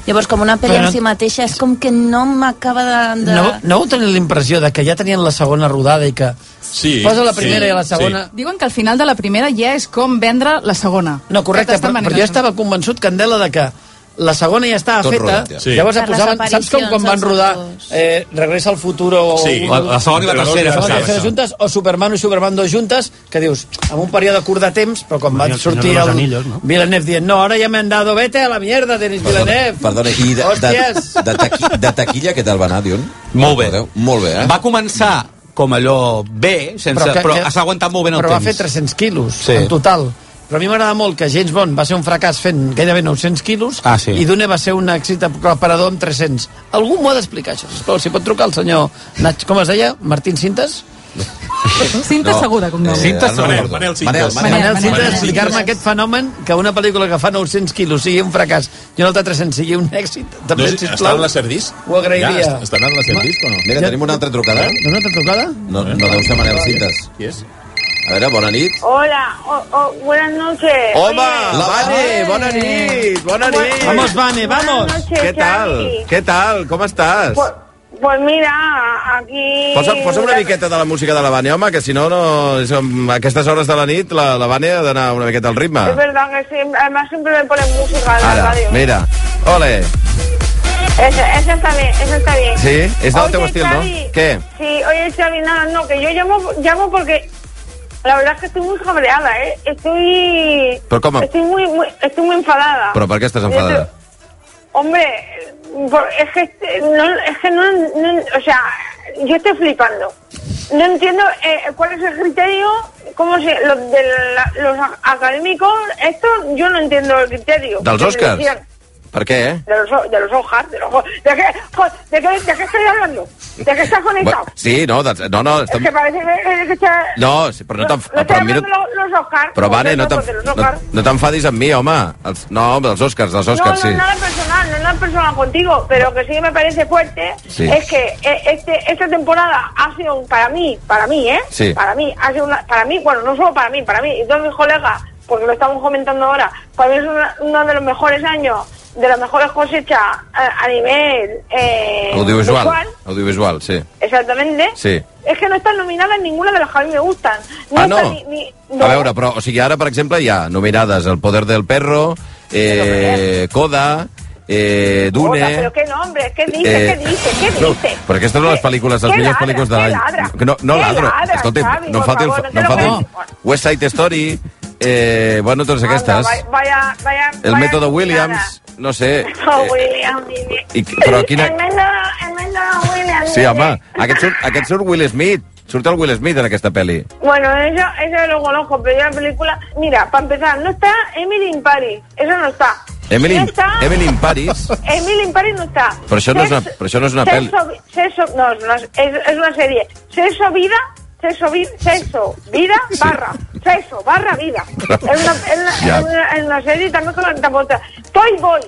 S12: Llavors, com una pel·li
S3: Però
S12: en
S3: no-
S12: si mateixa, és com que no m'acaba de... de...
S3: No, no heu tenit la impressió de que ja tenien la segona rodada i que... Sí, Posa la primera sí, i la segona. sí.
S4: Diuen Ah, que al final de la primera ja és com vendre la segona.
S3: No, correcte,
S4: Que
S3: però,
S4: t'estan venent
S3: però
S4: la
S3: jo estava convençut, Candela, de que la segona ja estava
S6: Tot
S3: feta,
S6: rodat, ja. Sí.
S3: llavors la
S6: Per les
S3: posaven... Saps com quan van
S6: aparicions,
S3: rodar eh, Regressa al futur o...
S6: Sí, la- la segona i la tercera
S3: La segona i la
S6: passava,
S3: tercera
S6: això.
S3: juntes, o Superman i Superman dos juntes, que dius, en un període curt de temps, però quan
S8: Bueno,
S3: van
S8: i el Senyor
S3: sortir
S8: de los
S3: el
S8: Anillos, no?
S3: Villeneuve dient, no, ara ja m'han dado, vete a la mierda, Denis Villeneuve.
S17: Perdona, i de, de,
S3: Hòsties!
S17: de, taqui, de taquilla què tal va anar, Dion?
S6: Molt bé.
S17: Recordeu? Molt bé, eh?
S6: Va començar com allò bé, sense, però,
S3: que-
S6: però
S3: que-
S6: s'ha aguantat molt bé en el
S3: però
S6: temps.
S3: va fer 300 quilos,
S6: Sí.
S3: sí. en total. Però a mi m'agrada molt que James Bond va ser un fracàs fent gairebé 900 quilos
S6: Ah, sí.
S3: i Dune va ser un èxit aclaparador amb 300. Algú m'ho ha d'explicar, això. Sisplau, si pot trucar el senyor... Nach, com es deia? Martín Cintes?
S4: Cinta No. Segura,
S17: Eh,
S4: com nom. Cintes
S17: Segura. Manel, Manel Cintes. Manel, Manel,
S3: Manel,
S17: Manel
S3: Cintes,
S17: Cintes.
S3: explicar-me aquest fenomen que una pel·lícula que fa 900 quilos sigui un fracàs i una altra 300 sigui un èxit. També,
S18: No,
S3: sisplau,
S18: estan a la Cerdís?
S3: Ho agrairia. Eh?
S18: Ja, estan a la Cerdís o no?
S17: Mira, tenim una altra trucada. eh?
S3: Una altra trucada?
S17: No, no deu ser Manel Cintes.
S18: Qui és?
S17: A veure, bona nit.
S19: Hola, o- o- buenas noches.
S17: Home,
S19: Oye,
S17: la Vane, bona nit, bona nit.
S19: Vamos,
S3: Vane,
S19: vamos. noches,
S1: ¿Qué tal?
S19: Xavi.
S1: ¿Qué tal? Com estàs?
S19: Pues, pues mira, Ah, aquí...
S1: Posa, posa una miqueta de la música de la Vane, home, que si no, no és- a aquestes hores de la nit la, la Vane ha d'anar una miqueta al ritme.
S19: Es verdad que siempre, además siempre me ponen música en la
S1: Ara,
S19: radio.
S1: mira. Ole.
S19: Eso, eso está bien, eso está bien.
S1: Sí? És del
S19: Oye,
S1: teu estil, no?
S19: Xavi,
S1: Què?
S19: Sí, oye, Xavi, nada, no, que yo llamo, llamo porque la verdad es que estoy muy cabreada, ¿eh? Estoy...
S1: Pero ¿cómo?
S19: Estoy muy, muy, estoy muy enfadada.
S1: Però per què estàs enfadada?
S19: Hombre, por- es que este- no, es que no, no- o sea, yo estoy flipando. No entiendo eh, cuál es el criterio, cómo se, los de la- los a- académicos, esto yo no entiendo el criterio.
S1: Dels
S19: Que
S1: Oscars?
S19: decían,
S1: Per què, eh?
S19: De los, o- de los Oscars, de los o- ¿De qué, jo- de qué, de qué estoy hablando? ¿De qué estás conectado?
S1: Bueno, sí, no, dels- no, no,
S19: es que
S1: estem...
S19: parece que, que está-
S1: No, sí, però no t'enf-
S19: estoy
S1: però a mi no-
S19: hablando de los, los Oscars.
S1: Però, Vane, no
S19: vosotros,
S1: t'enf-
S19: de los
S1: no,
S19: Oscars.
S1: no t'enfadis amb mi, home. Els, no, dels Oscars, dels Oscars,
S19: no, no
S1: sí.
S19: es nada personal, no es nada personal contigo, pero que sí que me parece fuerte
S1: Sí.
S19: es que eh, este, esta temporada ha sido un- para mí, para mí, ¿eh?
S20: Sí.
S19: Para mí, ha sido una, para mí, bueno, no solo para mí, para mí y todos mis colegas, porque lo estamos comentando ahora, para mí es una- uno de los mejores años, de las mejores cosechas a, a nivel eh,
S1: Audiovisual.
S19: visual,
S1: Audiovisual, sí.
S19: exactamente.
S1: Sí.
S19: Es que no están nominadas ninguna de las que a mí me gustan.
S1: Ah, no?
S19: está ni- ni-
S1: A veure, però, o sigui, ara, per exemple, hi ha nominades El poder del perro, eh, Coda, eh, Dune...
S19: Otra, pero qué nombre, qué dices,
S1: Eh,
S19: qué dices, qué
S1: No,
S19: dices.
S1: però aquestes són les pel·lícules, les
S19: què
S1: millors
S19: ladra,
S1: pel·lícules de
S19: què
S1: l'any.
S19: ladra?
S1: No, no
S19: Què
S1: ladro,
S19: ladra,
S1: escolti'm, no
S19: Xavi,
S1: em
S19: por
S1: falti el,
S19: favor, no
S1: no em
S19: te lo
S1: falti el,
S19: puedes-
S1: West Side Story, eh, bueno, totes aquestes.
S19: Anda, vaya, vaya,
S1: El
S19: vaya
S1: mètode
S19: nominada.
S1: Williams, no sé...
S19: Oh,
S1: eh,
S19: William, dime.
S1: i, però quina...
S19: El mètode, el mètode Williams.
S1: Sí,
S19: dime.
S1: home, aquest surt, aquest surt Will Smith, surt el Will Smith en aquesta pel·li.
S19: Bueno, eso, eso lo conozco, pero yo la película... Mira, para empezar, no está Emily in Paris, eso no está.
S1: Emily,
S19: No está,
S1: Emily in Paris,
S19: Emily in Paris no está.
S1: però això no és una, però això no és una pel·li.
S19: Sexo, sexo, no, no, es, es una serie. Sexo, vida, sexo, vida, sexo, vida, barra. Sexo, barra, vida. Es una, es una,
S1: Ya.
S19: es una, es una serie también con tampoco está. Toy Boy.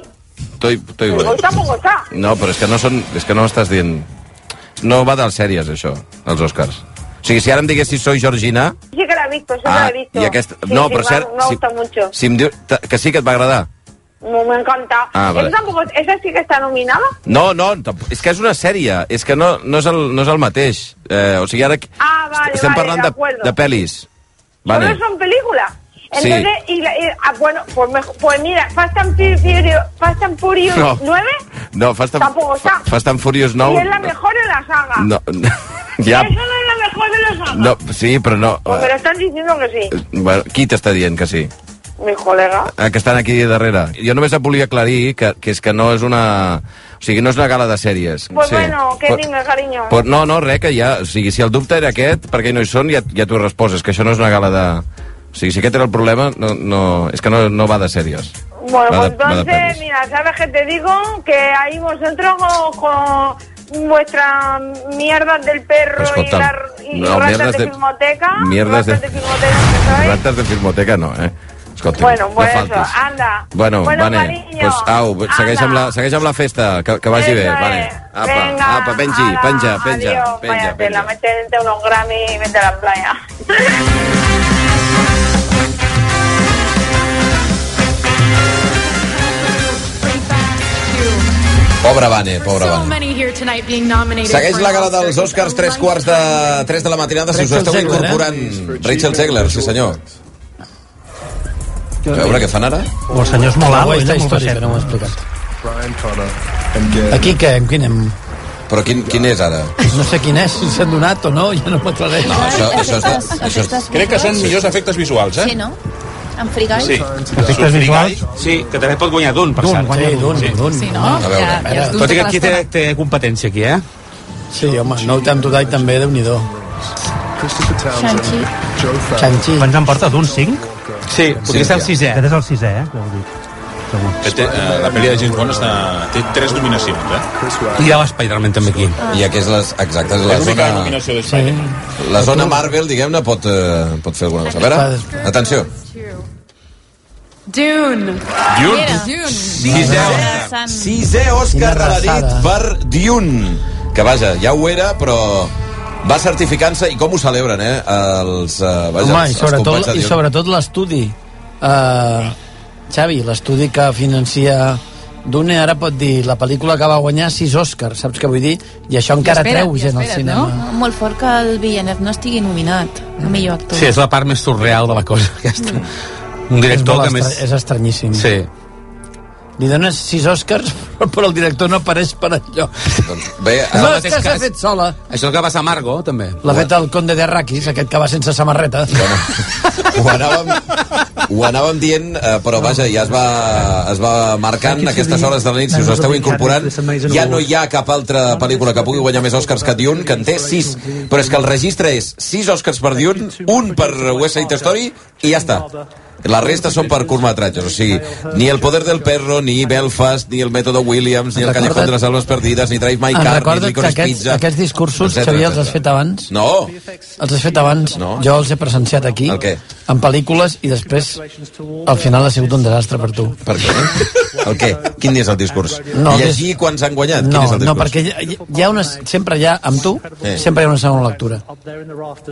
S1: Toi, toi,
S19: Toy Boy
S1: bueno.
S19: tampoco está.
S1: No, però és que no, són, és que no estàs dient... No va de les sèries, això, els Oscars. O sigui, si ara em diguessis Soy Georgina,
S19: Sí que la he visto, sí que
S1: Ah,
S19: la he visto.
S1: y aquesta-
S19: Sí,
S1: no,
S19: sí,
S1: pero
S19: me-
S1: ser-
S19: Me
S1: sí.
S19: gusta mucho.
S1: si em diu ta- que sí que et va agradar...
S19: Me, me encanta.
S1: Ah, vale.
S19: Esa tampoco, esa sí que está nominada.
S1: No, no, tamp- és que és una sèrie, és que no, no, és, el, no és el mateix. Eh, o sigui, ara
S19: Ah, vale,
S1: estem
S19: vale,
S1: parlant
S19: de
S1: de,
S19: acuerdo.
S1: de pel·lis. Vale.
S19: Solo son películas.
S1: Sí.
S19: Entonces, y la- y- ah, bueno, pues, mejo- pues mira, Fast and Furious, Fast and Furious
S1: No.
S19: 9
S1: No, Fast and,
S19: tampoco está.
S1: Fast and Furious 9...
S19: y es la mejor de la saga.
S1: No, no, ja,
S19: Eso no es la mejor de Oh, la saga.
S1: no, sí, però no... Eh,
S19: Pues me lo están diciendo que sí,
S1: Bueno, qui t'està dient que sí?
S19: mi colega.
S1: Ah, que estan aquí darrere. Jo només et volia aclarir que, que és que no és una... O sigui, no és una gala de sèries.
S19: Pues
S1: sí.
S19: bueno, que
S1: Però-
S19: tinga, cariño.
S1: Però, no, no, res, que ja... O sigui, si el dubte era aquest, perquè no hi són, ja, ja t'ho resposes, que això no és una gala de... O sigui, si aquest era el problema, no, no, és que no, no va de sèries.
S19: Bueno,
S1: va
S19: pues
S1: de- va de
S19: entonces,
S1: pelis.
S19: mira, ¿sabes qué te digo? Que ahí vosotros con, con vuestras mierdas del perro y,
S1: Escolta'm,
S19: la, y
S1: Pues no,
S19: ratas
S1: mierdas
S19: de,
S1: de-
S19: filmoteca.
S1: mierdas
S19: ratas
S1: de-
S19: de filmoteca que sois.
S1: Rates de filmoteca no, eh? Escolta,
S19: Bueno, pues
S1: no
S19: eso,
S1: faltis.
S19: anda.
S1: Bueno,
S19: bueno
S1: Vane,
S19: cariño,
S1: pues, au, segueix amb, la, segueix amb la festa, que, que vagi
S19: Eso
S1: bé,
S19: es.
S1: Vane. Apa,
S19: Venga,
S1: apa, pengi,
S19: ala,
S1: penja, penja,
S19: adiós,
S1: penja,
S19: váyatela,
S1: penja.
S19: métete unos Grammy y vete a la playa.
S1: Pobre Vane, pobre
S15: So
S1: Vane.
S15: many here tonight being nominated
S1: Segueix
S15: for
S1: la
S15: an
S1: gala dels
S15: Oscar.
S1: Oscars, tres quarts de, tres de la matinada, si us
S15: Rachel
S1: esteu
S15: Zegler, eh?
S1: incorporant. Rachel Zegler, sí senyor. A veure què fan ara?
S8: O el senyor és molt alt, o ell
S3: Aquesta
S8: és molt
S3: història
S8: baixet.
S3: que no m'ho he explicat. Aquí què? En quin hem?
S1: Però quin, quin és ara?
S3: No sé quin és, si s'han donat o no, ja no m'aclareix.
S1: No, això- això està- això està-
S7: Crec que són millors efectes visuals, eh?
S12: Sí, no? En Free Guy?
S6: Sí.
S8: Efectes visuals?
S6: Sí, que també pot guanyar d'un, per
S8: Dune,
S6: cert.
S8: guanya Dune,
S3: Dune.
S6: Sí,
S3: no?
S6: A veure.
S3: Ja- ja es duen
S6: Tot i que
S3: tota
S6: aquí té,
S3: l'estona.
S6: té competència, aquí, eh?
S3: Sí, home, no ho t'hem dotat també, Déu-n'hi-do.
S8: Shang-Chi.
S3: Shang-Chi.
S8: Quants en porta? D'un 5?
S6: Sí, podria ser el sisè.
S8: Aquest és el sisè, eh? que ho dic.
S7: Que Té, eh, la pel·li de James Bond està, té tres nominacions, eh?
S6: I hi ha l'Spider-Man també aquí.
S1: I aquí és les, exacte, és la
S7: És l'única
S1: zona...
S7: nominació de Spider-Man.
S1: La zona Marvel, diguem-ne, pot, eh, pot fer alguna cosa. A veure, atenció.
S15: Dune.
S1: Dune.
S15: Mira.
S1: Sisè Òscar.
S15: Interessant.
S1: Sisè Òscar de la nit per Dune. Que vaja, ja ho era, però va certificant-se i com ho celebren, eh? Els, eh, vaja,
S3: Home, i
S1: els, els companys
S3: sobretot,
S1: de
S3: i
S1: Dune.
S3: sobretot l'estudi. Uh, Xavi, l'estudi que financia Dune ara pot dir la pel·lícula que va guanyar sis Oscars, saps què vull dir? I això encara
S12: espera't,
S3: treu
S12: i
S4: eh,
S3: gent al
S12: espera't,
S3: cinema.
S12: No? Molt fort que el Villeneuve no estigui nominat a millor actor.
S6: Sí, és la part més surreal de la cosa, aquesta. Un
S3: és
S6: director
S3: molt
S6: que més...
S3: estra- És estranyíssim.
S6: Sí.
S3: Li dones sis Oscars, però el director no apareix per enlloc.
S1: Doncs Bé,
S3: No, és que s'ha fet sola.
S6: Això és el que va passar a Margo, també.
S3: L'ha fet el conde de Arrakis, aquest que va sense samarreta.
S1: Ho anàvem, ho anàvem dient, eh, però vaja, ja es va, es va marcant a aquestes hores de la nit, si us esteu incorporant. Ja no hi ha cap altra pel·lícula que pugui guanyar més Oscars que Dune, que en té 6. Però és que el registre és 6 Oscars per Dune, un per West Side Story i ja està. La resta són per curtmetratges, o sigui, ni El poder del perro, ni Belfast, ni El mètode Williams, ni El callejón de les almas perdides, ni Drive My
S3: Em
S1: Car, ni
S3: recorda que
S1: Licorice
S3: aquests,
S1: Pizza...
S3: aquests discursos,
S1: etcètera,
S3: Xavier, els has
S1: etcètera.
S3: fet abans?
S1: No,
S3: Els has fet abans, no. jo els he presenciat aquí,
S1: El què?
S3: en pel·lícules, i després al final ha sigut un desastre per tu.
S1: per què? El què? Quin és el discurs?
S3: No, el
S1: Llegir quants han guanyat?
S3: No,
S1: Quin és el discurs?
S3: no, perquè hi, hi- hi ha una, sempre hi ha, amb tu,
S1: Eh.
S3: sempre hi ha una segona lectura.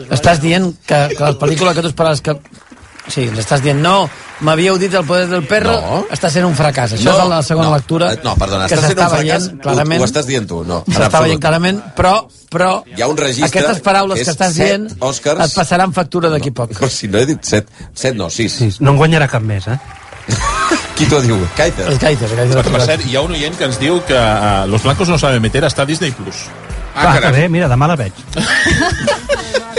S3: Estàs dient que, que la pel·lícula que tu esperaves que... Sí, ens estàs dient, no, m'havíeu dit el poder del perro, no. està sent un fracàs. Això no, és la segona
S1: no,
S3: lectura
S1: eh, No, perdona,
S3: que
S1: estàs sent un
S3: s'està
S1: fracàs,
S3: veient clarament.
S1: Ho, ho estàs dient tu, no. en
S3: S'està
S1: absolut.
S3: veient clarament, però, però
S1: Hi ha un registre
S3: aquestes paraules
S1: que
S3: que,
S1: és
S3: estàs
S1: set
S3: dient
S1: Oscars.
S3: et passaran factura d'aquí no. poc.
S1: Però si no he dit set, set no, sis. sis.
S8: No en guanyarà cap més, eh?
S1: Qui t'ho diu? Kaiter.
S3: Els gaites, els
S7: Per, per
S3: gaites.
S7: cert, hi ha un oient que ens diu que uh, Los Blancos no saben meter està a Disney+. Plus.
S8: Ah, que bé, mira, demà la veig.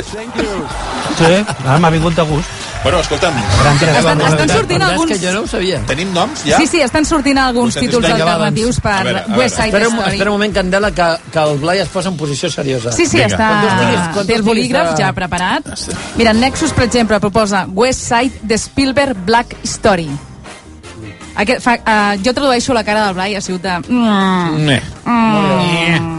S8: sí,
S3: ah,
S8: ara m'ha vingut de gust.
S7: Bueno, escolta'm,
S4: Estan, estan sortint
S3: Perdona, és
S4: alguns...
S3: que jo no ho sabia.
S7: tenim noms ja?
S4: Ja? Sí, sí, estan sortint alguns
S7: Vostè
S4: títols
S7: t'explica,
S4: alternatius
S7: doncs.
S4: per
S7: A veure, a
S4: West Side
S3: Espera un,
S4: Story.
S3: espera un moment, Candela, que, que el Blai es posa en posició seriosa.
S4: Sí, sí,
S3: Vinga. Quan tu estiguis- quan
S4: està...
S3: tu
S4: Té el
S3: estiguis
S4: bolígraf
S3: a-
S4: ja preparat. Mira, Nexus, per exemple, proposa West Side de Spielberg Black Story. Aquest, fa, uh, jo tradueixo la cara del Blai, ha sigut de... Mm.
S7: Mm.
S4: Mm.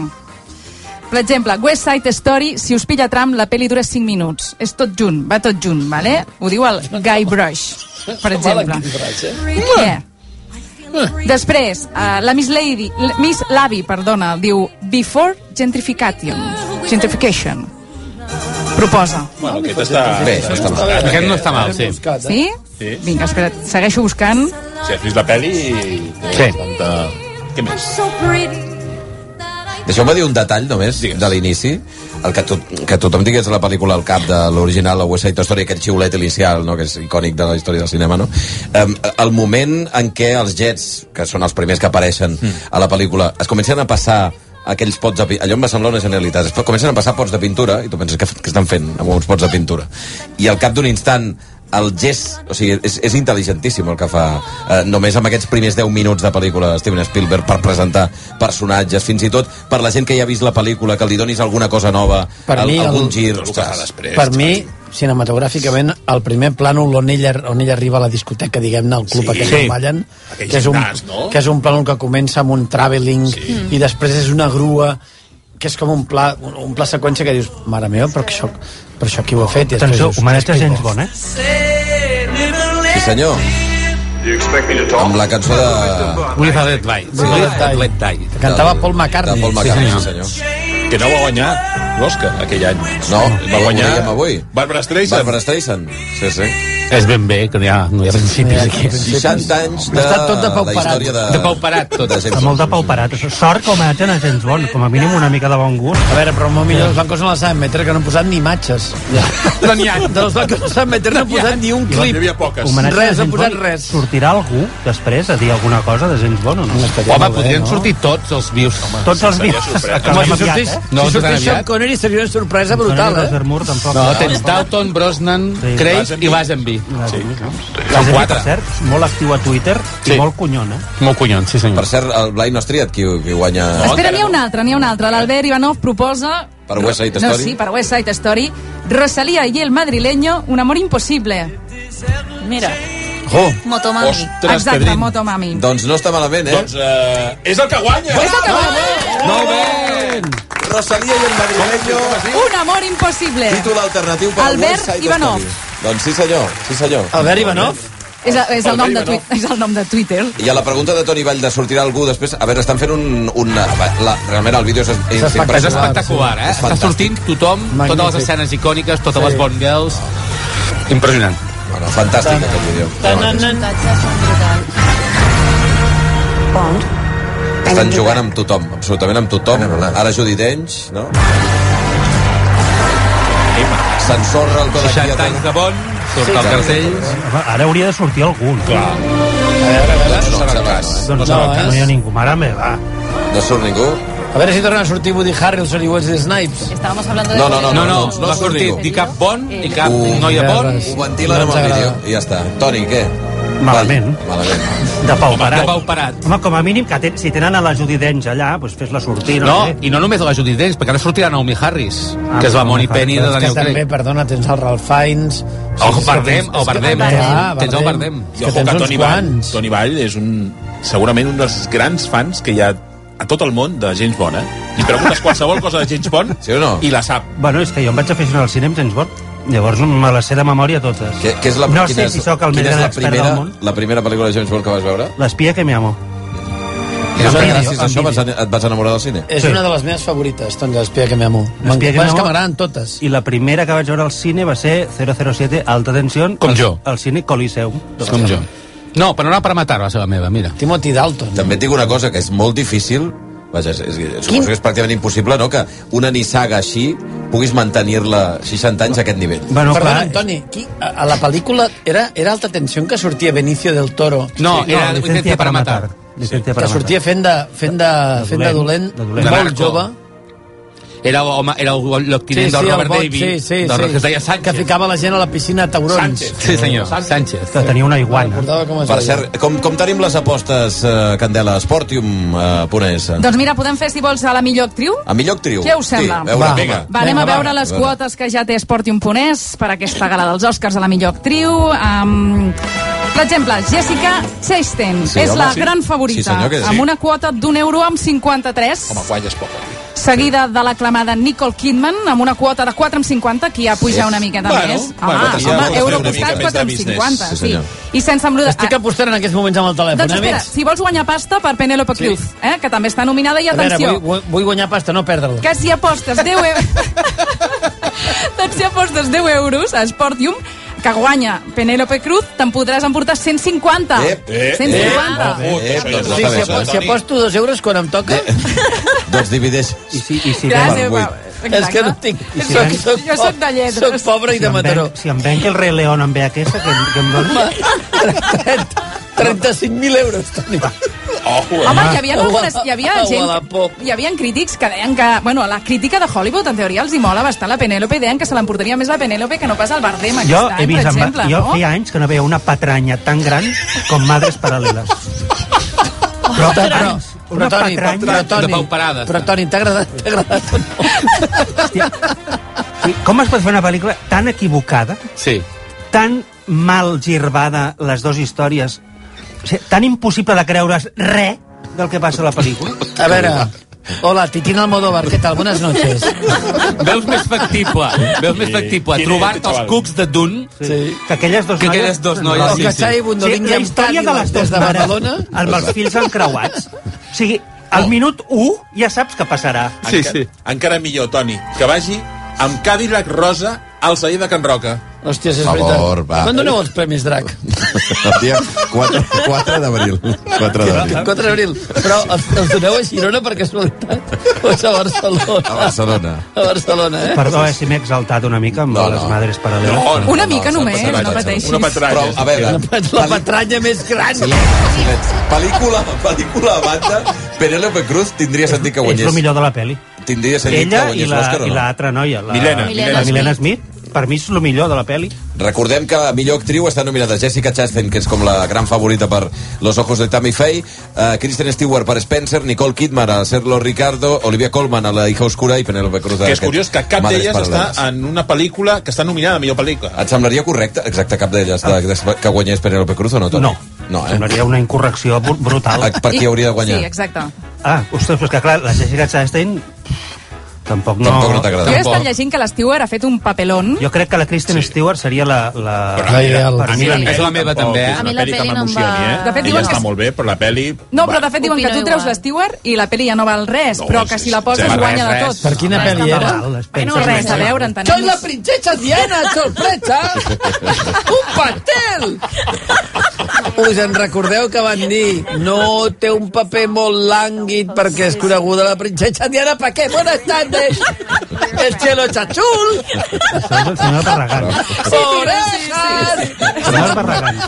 S4: Per exemple, West Side Story, si us pilla tram, la peli dura 5 minuts. És tot junt, va tot junt, vale? Ho diu el Guy Brush, per exemple. Yeah. Després, uh, la Miss Lady, l- Miss Lavi, perdona, diu Before Gentrification. Gentrification. Proposa.
S7: Bueno, aquest està...
S3: Eh,
S1: Bé, no està mal.
S6: Aquest no està mal, sí.
S4: Sí?
S7: Sí.
S4: Vinga, espera, segueixo buscant.
S7: Si has vist la pel·li... té
S6: Sí.
S7: Tanta... Què més?
S1: Deixeu-me dir un detall, només, de l'inici. el que, tot, que tothom tingués la pel·lícula al cap de l'original, la West Side Story, aquest xiulet inicial, no?, que és icònic de la història del cinema, no? Um, el moment en què els jets, que són els primers que apareixen a la pel·lícula, es comencen a passar aquells pots de pintura. Allò em va semblar una generalitat. Es comencen a passar pots de pintura i tu penses que, que estan fent amb uns pots de pintura. I al cap d'un instant el gest, o sigui, és, és intel·ligentíssim el que fa, eh, només amb aquests primers 10 minuts de pel·lícula de Steven Spielberg per presentar personatges, fins i tot per la gent que ja ha vist la pel·lícula, que li donis alguna cosa nova,
S3: Per mi,
S1: algun
S3: el-
S1: gir
S3: Tot el que
S1: ostres.
S3: fa Per mi, cinematogràficament, el primer plànol on ella, on ella arriba a la discoteca, diguem-ne, al club
S21: Sí.
S3: sí, aquell
S21: Sí.
S3: on ballen,
S21: Aquell
S3: que és, un,
S21: gimnàs, no?
S3: que és un plànol que comença amb un travelling sí. i després és una grua que és com un pla, un, un pla seqüència que dius, mare meva, però, que això, però això qui ho ha fet? I després
S8: Atenció,
S3: dius,
S8: homenatge a
S3: "Hosti,
S8: James
S3: bo".
S8: Bond, eh?
S1: Sí, senyor. Amb la cançó de...
S6: Will I Let Die.
S3: Will I Let Die. Que cantava Paul McCartney.
S1: De Paul McCartney, sí, senyor.
S7: Que no va guanyar l'Oscar aquell any.
S1: No,
S7: va
S1: ho
S7: guanyar...
S1: dèiem avui.
S7: Barbara Streisand.
S1: Barbara Streisand, sí, sí.
S6: És ben bé, que no hi ha, no hi ha principis aquí.
S1: 60 anys de,
S8: Està tot de
S1: la
S8: pauperat.
S1: història de...
S6: De pauperat, tot.
S1: de James
S8: Està molt de pauperat. Sort que homenatgen a James Bond, com a mínim una mica de bon gust.
S3: A veure, però molt millor, els blancos no la saben metre, que no han posat ni imatges. Ja. No n'hi ha. Dels blancos no saben metre, no han posat ni un clip.
S8: Homenatge a
S3: Res,
S8: James
S3: han posat
S8: Bond.
S3: res.
S8: Sortirà algú després a dir alguna cosa de James Bond o no?
S6: Home, podrien sortir tots els vius. Home,
S8: Tots els seria vius. sorpresa.
S3: Home, si sortís,
S6: No,
S3: si
S6: no tan
S3: sortís Sean
S6: aviat.
S3: Connery seria una sorpresa brutal, eh?
S6: No, tens Dalton, Brosnan,
S8: Sí.
S6: Craig
S8: Lazenby.
S6: i Lazenby.
S8: Sí.
S6: Són
S8: Per
S6: quatre.
S8: cert, molt actiu a Twitter sí. i molt conyon, eh?
S6: Molt conyon, sí senyor.
S1: Per cert, el Blai no has triat qui, qui guanya...
S4: Espera, n'hi ha un altre, n'hi ha un altre. L'Albert Ivanov proposa...
S1: Per West Side
S4: No,
S1: Story?
S4: sí, para West Side Story. Rosalía y el madrileño, un amor imposible.
S12: Mira,
S1: Oh.
S12: Motomami.
S4: Exacte, Motomami.
S1: Doncs no està malament, eh? Doncs
S7: eh, és el que guanya!
S4: És el que guanya!
S1: No, ben! Rosalía i el madrileño...
S7: Doncs
S4: Un amor imposible.
S1: Títol alternatiu per
S4: Albert
S1: West Side
S4: Ivanov.
S1: Story. Doncs sí, senyor, sí, senyor.
S3: Albert Ivanov?
S4: És, el- és, el nom de
S1: Albert Ivanov.
S4: Twitter, és el nom de Twitter.
S1: I a la pregunta de Toni Vall de sortirà algú després... A veure, estan fent un... un la, realment el vídeo és, és,
S6: És espectacular, eh? Està sortint tothom, totes les
S1: Magnífic.
S6: escenes icòniques, totes
S1: Sí.
S6: les Bond Girls... Impressionant.
S1: Bueno, fantàstic aquest vídeo. Estan jugant amb tothom, absolutament amb tothom. Ara Judi Dench, no? S'ensorra el codi
S6: 60 anys de Bond, surt al cartell...
S8: Home, Ara hauria de sortir algú, no? Clar.
S1: Doncs no, serà cas.
S8: Doncs no,
S3: No,
S8: no,
S3: eh?
S8: no hi ha ningú. Mare meva.
S1: No surt ningú?
S3: A veure si tornen a sortir Woody Harrelson i Wesley Snipes.
S12: Estábamos hablando de...
S1: No, no, no.
S6: No, no,
S1: no
S6: no ha
S1: surt
S6: sortit
S1: ningú.
S6: ni cap Bond, ni cap noia Bond.
S1: Ho ventilen amb el vídeo i ja està. Toni, què?
S8: Malament.
S1: Malament.
S8: De pau parat.
S6: de pau parat.
S8: Home, com a mínim, que ten, si tenen a la Judy Dench allà, doncs fes-la sortir.
S6: No,
S8: sé.
S6: i no només a la Judi Dench, perquè ara sortirà Naomi Harris,
S8: Ah,
S6: que es va
S8: Naomi
S6: Moni Penny
S3: Però
S6: de
S3: és Doncs que
S6: Daniel
S3: també,
S6: Craig.
S3: perdona, tens el Ralph Fiennes...
S6: El Bardem, el Bardem, eh?
S3: Ah,
S6: Tens el Bardem.
S3: És
S7: I
S3: Que
S7: ojo
S3: tens
S7: que
S3: uns
S7: Toni Vall,
S3: quants.
S7: Toni Vall és un, segurament un dels grans fans que hi ha a tot el món de James Bond, eh? I preguntes qualsevol cosa de James Bond sí o no? i la sap.
S8: Bueno, és que jo em vaig aficionar al cinema, James Bond. Llavors me la sé de memòria totes.
S1: Què, què és la,
S8: no
S1: quina
S8: sé
S1: és-
S8: si sóc el
S1: quina
S8: més
S1: és
S8: gran
S1: la
S8: expert
S1: primera,
S8: del món. Eh,
S1: la primera pel·lícula de James Bond que vas veure?
S8: L'espia que mi amo.
S1: I
S3: una-
S1: després, gràcies
S3: en
S1: a això,
S3: vídeo.
S1: vas, et vas enamorar del
S8: Eh.
S1: cine?
S3: És una de les meves favorites, doncs, l'espia que m'amo.
S8: L'espia que
S3: M'encanta, és que
S8: m'amo.
S3: m'agraden totes.
S8: I la primera que vaig veure al cine va ser 007 Alta Tensió. Com al,
S7: Ah,
S6: jo.
S8: Al cine Coliseum.
S7: doncs
S6: Com jo. No, però no era per matar la seva meva, mira.
S3: Timothy Dalton.
S1: També et dic una cosa, que és molt difícil Vaja, és, és, suposo que és pràcticament impossible, no?, que una nissaga així puguis mantenir-la 60 anys a aquest nivell.
S3: Bueno, Perdona, Antoni, qui, a, a la pel·lícula era, era alta tensió que sortia Benicio del Toro.
S6: No, era
S8: Licencia
S6: Licencia para
S8: para
S6: matar.
S8: Licencia
S3: que
S8: para matar.
S3: sortia fent de, fent de, fent de dolent,
S8: dolent, de
S3: de dolent,
S8: dolent.
S3: molt
S6: Narco.
S3: jove.
S6: Era el home, era el- l'obtinent del Robert
S3: bot,
S6: Davis,
S3: sí, sí,
S6: del-
S3: sí,
S6: que es deia Sánchez.
S3: Que ficava la gent a la piscina a taurons.
S6: Sánchez. Sí, senyor, Sánchez.
S8: Que tenia una iguana.
S3: Recordava com es
S1: Per
S3: deia.
S1: cert, com, com tenim les apostes, eh, Candela? Sportium, eh, Ponés?
S4: Doncs mira, podem fer, si vols, a la millor actriu.
S1: A millor actriu.
S4: Què us sembla?
S1: Sí, a veure,
S4: va,
S1: vinga.
S4: va, anem a
S1: Vinga, va.
S4: veure les
S1: A veure.
S4: quotes que ja té Sportium Ponés per aquesta gala dels Oscars a la millor actriu. Um, per exemple, Jessica Chastain
S1: Sí,
S4: és
S1: home,
S4: la
S1: sí.
S4: gran
S1: Sí,
S4: favorita,
S1: senyor, que sí.
S4: amb una quota d'un euro amb 53,
S7: Home, guanyes poc. eh?
S4: seguida de l'aclamada Nicole Kidman, amb una quota de 4 amb 50, que ja puja una miqueta
S7: Bueno,
S4: més.
S7: bueno,
S4: home,
S7: potser
S4: home,
S7: podem fer
S4: euro
S7: una mica
S4: costat
S7: més
S4: 4
S7: de
S4: amb
S7: business.
S4: 50,
S7: Sí,
S4: sí.
S7: senyor.
S4: I sense embrutar...
S3: Estic apostant en aquests moments amb el telèfon, eh,
S4: Doncs espera,
S3: amics.
S4: si vols guanyar pasta per Penélope
S3: Sí.
S4: Cruz, eh, que també està nominada, i
S3: A veure,
S4: atenció,
S3: vull, vull- vull guanyar pasta, no perdre-la.
S4: que si apostes 10 euros... doncs si apostes 10 euros a Sportium, que guanya Penélope Cruz, te'n podràs emportar 150.
S8: Eh,
S1: Ep, ep,
S4: 150.
S1: ep, ep, ep, doncs
S3: Sí,
S1: està bé,
S3: si,
S1: això,
S3: apo- si
S1: Toni.
S3: Eh, aposto dos euros quan em toca...
S1: Doncs divideix.
S8: I si, i si
S4: Gràcies,
S1: per
S4: va.
S1: vuit.
S4: Exacte.
S3: És que no tinc...
S4: I si venc- Jo soc de lletres.
S3: Soc pobre i de Mataró.
S8: Venc, si em venc el rei León amb VHS, que, que em doni...
S3: 35.000 euros, Toni. Oh,
S7: eh.
S4: Home, hi havia, altres, hi havia
S3: Guadalajara.
S4: gent, hi havia crítics que deien que, bueno, la crítica de Hollywood en teoria els hi mola bastant la Penélope i deien que se l'emportaria més la Penélope que no pas el Bardem aquest
S8: Jo
S4: any,
S8: he vist,
S4: per
S8: amb,
S4: exemple,
S8: jo
S4: no?
S3: Oh.
S8: feia anys que no veia una patranya tan gran com Madres Paral·leles. Però, però,
S3: Però, Toni, però, Toni, però, Toni, t'ha agradat, t'ha agradat.
S8: Sí, Com es pot fer una pel·lícula tan equivocada,
S6: Sí.
S8: tan mal girbada les dues històries, o sigui, tan impossible de creure's res del que passa a la pel·lícula?
S3: A veure, hola, Titín Almodóvar, què tal? Buenas noches.
S6: Veus més factible, veus més factible
S3: Quin
S6: trobar-te els
S3: intel·lectual.
S6: cucs de Dun
S8: sí. que aquelles dos
S6: que
S8: noies-
S6: aquelles dos noies...
S3: O que Xavi Bundolin
S8: la història de les dues
S3: des de
S8: mares
S3: Badalona.
S8: amb els fills encreuats. O sigui, al minut 1 ja saps què passarà.
S7: Sí, sí. Encara millor, Toni, que vagi amb Cadillac Rosa al celler de Can Roca.
S3: Hòstia, és
S1: Per favor,
S3: veritat.
S1: va.
S3: Quan doneu els premis, Drac?
S1: El dia 4, 4 d'abril. 4 d'abril.
S3: 4 d'abril. Però els, els doneu a Girona per casualitat? O és Doncs a Barcelona?
S1: A Barcelona.
S3: A Barcelona, eh?
S8: Perdó, eh, si m'he exaltat una mica amb no, no. les madres paral·leles.
S1: No,
S4: Una mica només, no pateixis.
S1: Però, a veure, eh,
S3: La patranya més gran.
S1: pel·lícula, pel·lícula a banda, Penélope Cruz tindria sentit que
S8: És el
S1: guanyés.
S8: millor de la peli.
S1: Tindria sentit que
S8: Ella i
S1: guanyés
S8: la,
S1: l'Òscar o
S8: i
S1: no?
S8: l'altra noia, la
S1: Milena,
S8: Milena,
S1: Milena
S8: la Milena Smith, per mi és el millor de la peli.
S1: Recordem que a millor actriu està nominada Jessica Chastain, que és com la gran favorita per Los ojos de Tammy Faye, uh, Kristen Stewart per Spencer, Nicole Kidman a Serlo Ricardo, Olivia Colman a La hija oscura i Penélope Cruz a
S7: Que és
S1: aquest
S7: curiós que cap
S1: Madres
S7: d'elles
S1: Paral·leles.
S7: està en una pel·lícula que està nominada a millor pel·lícula.
S1: Et semblaria correcte, exacte, cap d'elles, de, de, que guanyés Penélope Cruz o no, Toni?
S8: No.
S1: No, eh?
S8: Semblaria una incorrecció br- brutal.
S1: Ah, Per qui hauria de guanyar?
S4: Sí, exacte.
S8: Ah, ostres, però és que clar, la Jessica Chastain... pff, Tampoc no...
S1: Tampoc no t'ha
S4: Jo
S1: agradat.
S4: he estat llegint que l'Stewart ha fet un papelón
S8: Jo crec que la Kristen Stewart seria la... la...
S3: La ideal.
S8: Per mi, la
S6: Sí. És la meva, també, eh?
S7: És
S4: A mi
S7: una
S4: la
S7: pel·li que
S4: peli no em
S7: m'emocioni,
S4: va-
S7: eh?
S4: De fet,
S7: Ella
S4: diuen que
S7: està
S4: és-
S7: molt bé, però la pel·li...
S4: No, però de fet diuen que
S22: Opino
S4: tu treus
S22: igual.
S4: l'Stewart i la peli ja no val res,
S7: No,
S4: però
S7: és-
S4: que si la
S7: és-
S4: poses
S7: res,
S4: guanya de
S6: res.
S4: tot.
S3: Per quina pel·li era?
S4: Bueno, res, a veure, entenem.
S3: Soy la princesa Diana, sorpresa! Un pastel! Us en recordeu que van dir no té un paper molt lànguid perquè és coneguda la princesa Diana per què? Buenas tardes! El cielo es azul!
S8: Això és el senyor Barragán.
S3: Orejas!
S8: Senyor Barragán.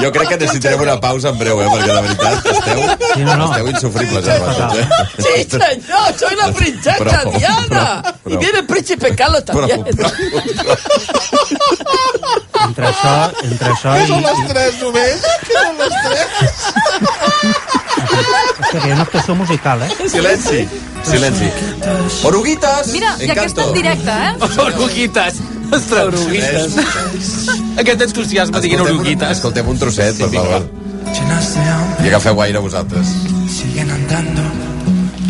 S1: Jo crec que necessitarem una pausa en breu, eh? Perquè la veritat, esteu,
S8: Sí, no, no.
S1: esteu insufribles. Eh? vosaltres, eh?
S3: Sí, señor, soy la princesa
S1: Bravo,
S3: Diana.
S1: bravo,
S3: Y
S1: bravo.
S3: viene el príncipe Carlos también.
S8: Entre això, entre això i...
S7: tres només? Que són les tres?
S8: Hòstia, que hi ha una actuació musical, eh?
S1: Silenci, silenci. Oruguitas!
S4: Mira, i aquesta en directe, eh?
S6: Oruguites! Ostres, oruguites. Aquest entusiasme diguin
S1: Escoltem un-
S6: oruguites.
S1: Escoltem un trosset, per favor. I agafeu aire vosaltres.
S20: Siguen andando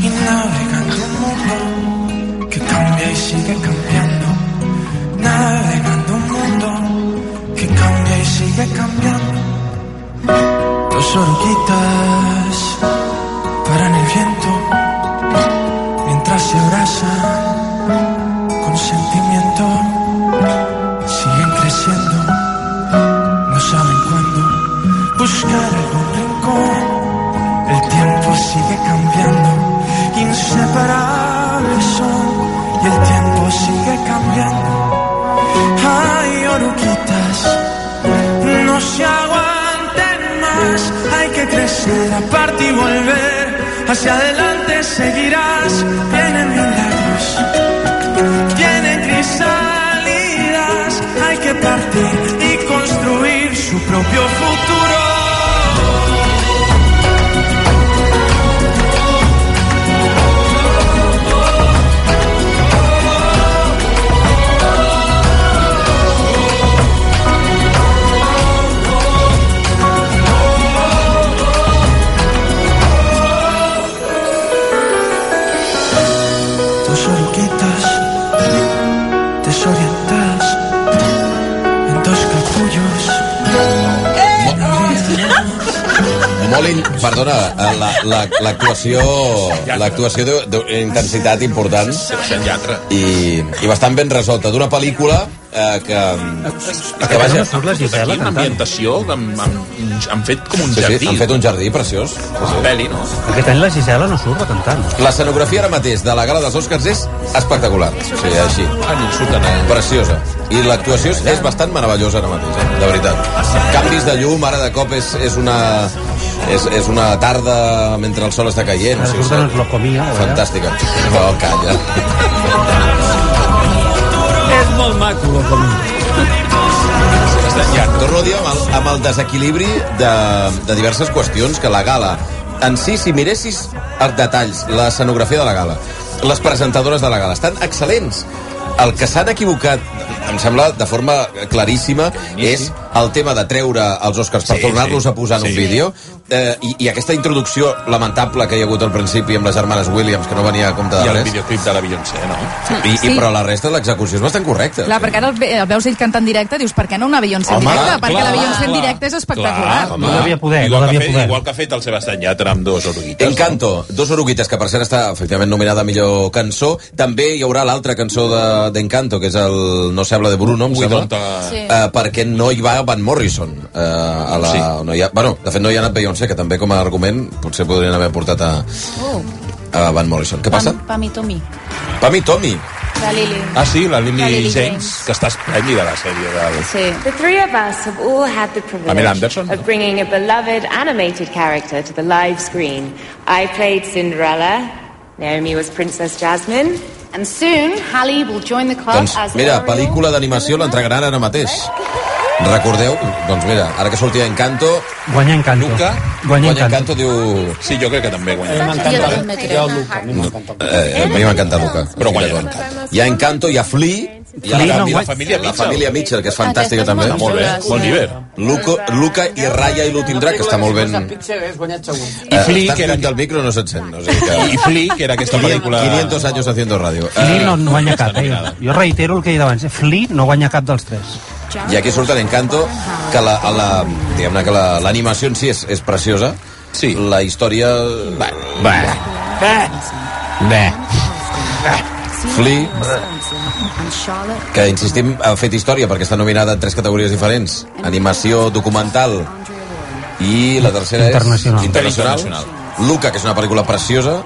S20: y navegando un mundo que cambia y sigue cambiando. Navegando un mundo que cambia y sigue cambiando. Dos oruguitas paran el viento mientras se abrazan con sentimiento. Siguen creciendo, no saben cuándo buscar algún rincón. El tiempo sigue cambiando, inseparables son, y el tiempo sigue cambiando. Ay, oruquitas, no se aguanten más, hay que crecer, aparte y volver, hacia adelante seguirás, vienen milagros, tienen crisalidas, hay que partir y construir su propio futuro. Dos oruguitas desorientadas en dos capullos.
S8: Eh,
S1: Molt in... Perdona, eh, la- la- l'actuació... L'actuació d'intensitat important
S7: Senllatra.
S1: i, i bastant ben resolta. D'una pel·lícula eh, que...
S7: Que vaja, aquí amb ambientació amb, amb, han fet com un
S1: Sí,
S7: jardí.
S1: sí, han fet un jardí preciós.
S7: Peli, no?
S8: Aquest any la Gisela no surt a cantar. No?
S1: L'escenografia ara mateix de la gala dels Oscars és espectacular. O sigui, així. Preciosa. I l'actuació és- és bastant meravellosa ara mateix, eh? de veritat. Canvis de llum, ara de cop és, és una... És, és una tarda mentre el sol està caient. O sigui,
S8: Surten els locomia.
S1: fantàstica. No, calla.
S8: És molt maco, locomia.
S1: Ja, torno a dir amb el, amb el desequilibri de, de diverses qüestions que la gala en si, si miressis els detalls, l'escenografia de la gala, les presentadores de la gala, estan excel·lents. El que s'han equivocat, em sembla, de forma claríssima, és el tema de treure els Oscars per
S23: Sí,
S1: tornar-los
S23: sí.
S1: a posar en un
S23: Sí.
S1: vídeo eh, i, i aquesta introducció lamentable que hi ha hagut al principi amb les germanes Williams, que no venia a compte de
S7: I el
S1: res.
S7: videoclip de la Beyoncé, no?
S1: I,
S4: Sí.
S1: i, però la resta de l'execució és bastant correcta.
S4: Clar, perquè ara el, ve- el veus ell cantant en directe, dius, per què no una Beyoncé en
S1: Home,
S4: directe?
S1: clar,
S4: perquè la Beyoncé en
S1: clar,
S4: directe és espectacular.
S1: home. No devia poder,
S7: igual
S1: no
S7: que
S1: devia
S7: ha fet,
S1: poder.
S7: Igual que ha fet el Sebastián Yatra amb dos oruguites.
S1: Encanto, dos oruguites, que per cert està efectivament nominada a millor cançó. També hi haurà l'altra cançó de- d'Encanto, de, que és el No se habla de Bruno, em
S7: Ui,
S1: sembla,
S7: doncs,
S1: sí.
S7: eh,
S1: uh, perquè no hi va Van Morrison. Uh, a la, sí. no hi ha, bueno, de fet no hi ha anat Beyoncé, que també com a argument potser podrien haver portat a,
S12: Oh,
S1: a Van Morrison. Què passa?
S12: Pam i Tommy,
S1: Pami Tommy.
S12: de Lily.
S7: Ah, sí, la Lily,
S12: La Lily
S7: James,
S12: James.
S7: que està esplèndida a la sèrie del...
S24: The three of us have all had the privilege
S7: Pamela Anderson.
S24: of bringing a beloved animated character to the live screen. I played Cinderella, Naomi was Princess Jasmine, and soon Hallie will join the club
S1: Doncs
S24: as
S1: mira,
S24: Ariel.
S1: pel·lícula d'animació l'entregaran ara mateix. Recordeu? Doncs mira, ara que sortia Encanto...
S8: Guanya Encanto.
S1: Luca, guanya, guanya Encanto. diu... Sí, jo crec que també guanya Eh, a mi m'encanta Luca. Però guanya l'Encanto. Hi ha Encanto, hi ha Flea, hi
S7: Flea,
S1: ha la,
S7: no,
S1: família,
S7: guanya. família
S1: la
S7: Mitchell.
S1: família Mitchell, que és fantàstica
S7: Aquesta
S1: també.
S7: és molt Està molt bé. Bon llibre.
S1: Luco, Luca i Raya i l'últim drac, que està molt ben... Eh,
S21: Pixar és guanyat segur.
S1: I Flea, que era... del micro no se't sent. O sigui que...
S7: Eh, I Flea, que era aquesta pel·lícula-
S1: 500 anys haciendo radio. Eh,
S8: Flea no, no guanya cap, eh? Jo reitero el que he dit abans. eh? Flea no guanya cap dels tres.
S1: I aquí surt l'Encanto, que la, a la, diguem-ne que la- l'animació la, en si és, és preciosa. Sí. La història... Bé. Bé. Bé. Flea, que insistim, ha fet història perquè està nominada en tres categories diferents. Animació, documental i la tercera és...
S8: Internacional.
S1: Internacional. Luca, que és una pel·lícula preciosa.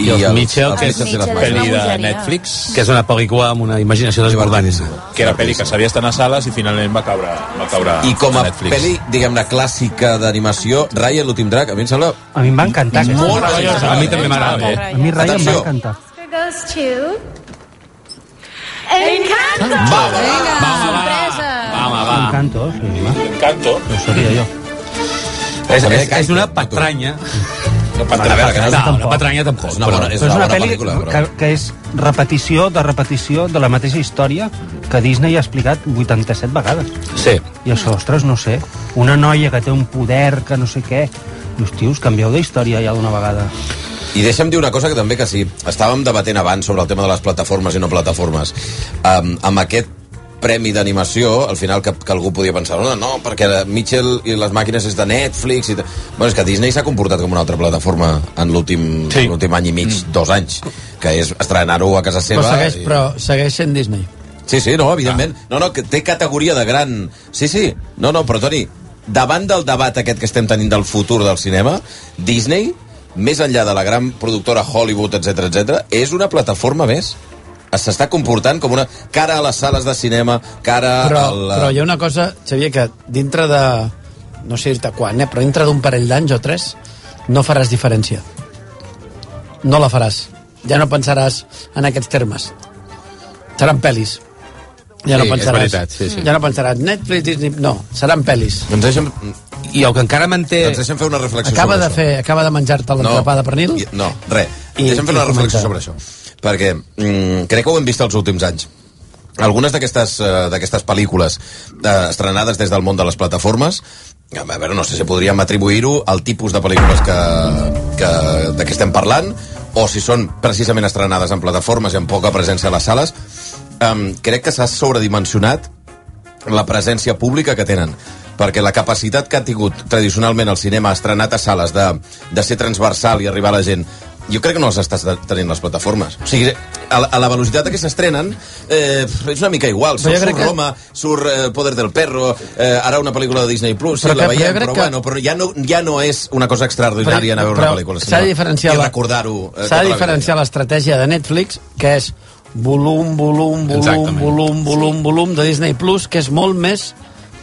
S6: I, els, Mitchell, que és
S1: Mitchell i les
S6: una
S1: Maies.
S6: pel·li de Netflix, que és una pel·lícula amb una imaginació desbordant.
S7: Que era pel·li que s'havia estat a sales i finalment va caure, va caure
S1: I com a
S7: Netflix.
S1: pel·li, diguem-ne, clàssica d'animació, Raya i l'últim drac, a mi em sembla...
S8: A mi em va encantar. aquesta.
S1: Molt meravellosa.
S6: A mi també m'agrada.
S8: A mi Raya em va
S1: Atenció.
S8: encantar.
S24: Oscar goes to Encanto.
S1: Venga,
S6: Home, va.
S8: Encanto, sí, va.
S7: Encanto.
S8: No
S1: Doncs
S8: seria jo.
S6: És, és, és una patranya.
S1: No,
S6: no, una patranya tampoc.
S1: És una bona,
S8: Però
S1: és una
S8: és una
S1: bona
S8: pel·li
S1: pel·lícula,
S8: que,
S1: però...
S8: que és repetició de repetició de la mateixa història que Disney ha explicat 87 vegades.
S6: Sí.
S8: I això, ostres, no sé, una noia que té un poder, que no sé què... Dius, tios, canvieu de història ja d'una vegada.
S1: I deixa'm dir una cosa que també que sí. Estàvem debatent abans sobre el tema de les plataformes i no plataformes. Um, amb aquest premi d'animació, al final que, que algú podia pensar no, no, perquè Mitchell i les màquines és de Netflix i... ta-". Bueno, és que Disney s'ha comportat com una altra plataforma en l'últim sí. any i mig, mm. dos anys que és estrenar-ho a casa
S3: Però
S1: seva
S3: segueix,
S1: i-
S3: però segueix sent Disney.
S1: Sí, sí, no, evidentment. No, no, que té categoria de gran... Sí, sí. No, no, però Toni, davant del debat aquest que estem tenint del futur del cinema, Disney, més enllà de la gran productora Hollywood, etc etc, és una plataforma més. S'està comportant com una... cara a les sales de cinema, cara
S6: Ah,
S1: eh,
S3: Però,
S1: a
S6: eh,
S1: la...
S3: però hi ha una cosa, Xavier, que dintre de... No sé dir-te quan, eh? però dintre d'un parell d'anys o tres no faràs diferència. No la faràs. Ja no pensaràs en aquests termes. Seran pel·lis. Ja no
S6: Sí, és
S3: pensaràs.
S6: veritat, sí, sí.
S3: Ja no pensaràs Netflix, Disney... No, seran pel·lis.
S1: Doncs deixa'm...
S6: I el que encara manté...
S1: Doncs deixa'm fer una reflexió
S3: Eh, Acaba
S1: sobre
S3: de, fer, acaba de menjar-te l'entrapada no. pernil.
S1: I- No, res.
S3: I-
S1: Deixa'm fer una
S3: i
S1: reflexió sobre
S3: comenta.
S1: això. Perquè mm, crec que ho hem vist els últims anys. Algunes d'aquestes eh, d'aquestes pel·lícules eh, estrenades des del món de les plataformes a veure, no sé si podríem atribuir-ho al tipus de pel·lícules que, que, de què estem parlant o si són precisament estrenades en plataformes i amb poca presència a les sales um, crec que s'ha sobredimensionat la presència pública que tenen perquè la capacitat que ha tingut tradicionalment el cinema estrenat a sales de, de ser transversal i arribar a la gent jo crec que no les estàs de- tenint les plataformes. O sigui, a la, a la velocitat a què s'estrenen eh, és una mica igual.
S3: Però
S1: Surt,
S3: jo crec
S1: surt
S3: que-
S1: Roma, surt eh, Poder del Perro, eh, ara una pel·lícula de Disney+, Plus, sí,
S3: Però
S1: la
S3: que- però jo
S1: veiem,
S3: crec
S1: però,
S3: que-
S1: bueno, però ja no, ja no és una cosa
S3: Però-
S1: extraordinària anar a veure
S3: però
S1: una pel·lícula.
S3: s'ha de
S1: sinó-
S3: diferenciar
S1: I
S3: la-
S1: recordar-ho. eh,
S3: S'ha
S1: tota
S3: de
S1: la vida.
S3: diferenciar l'estratègia de Netflix, que és volum, volum, volum,
S1: Exactament.
S3: volum, volum, volum de Disney Plus, que és molt més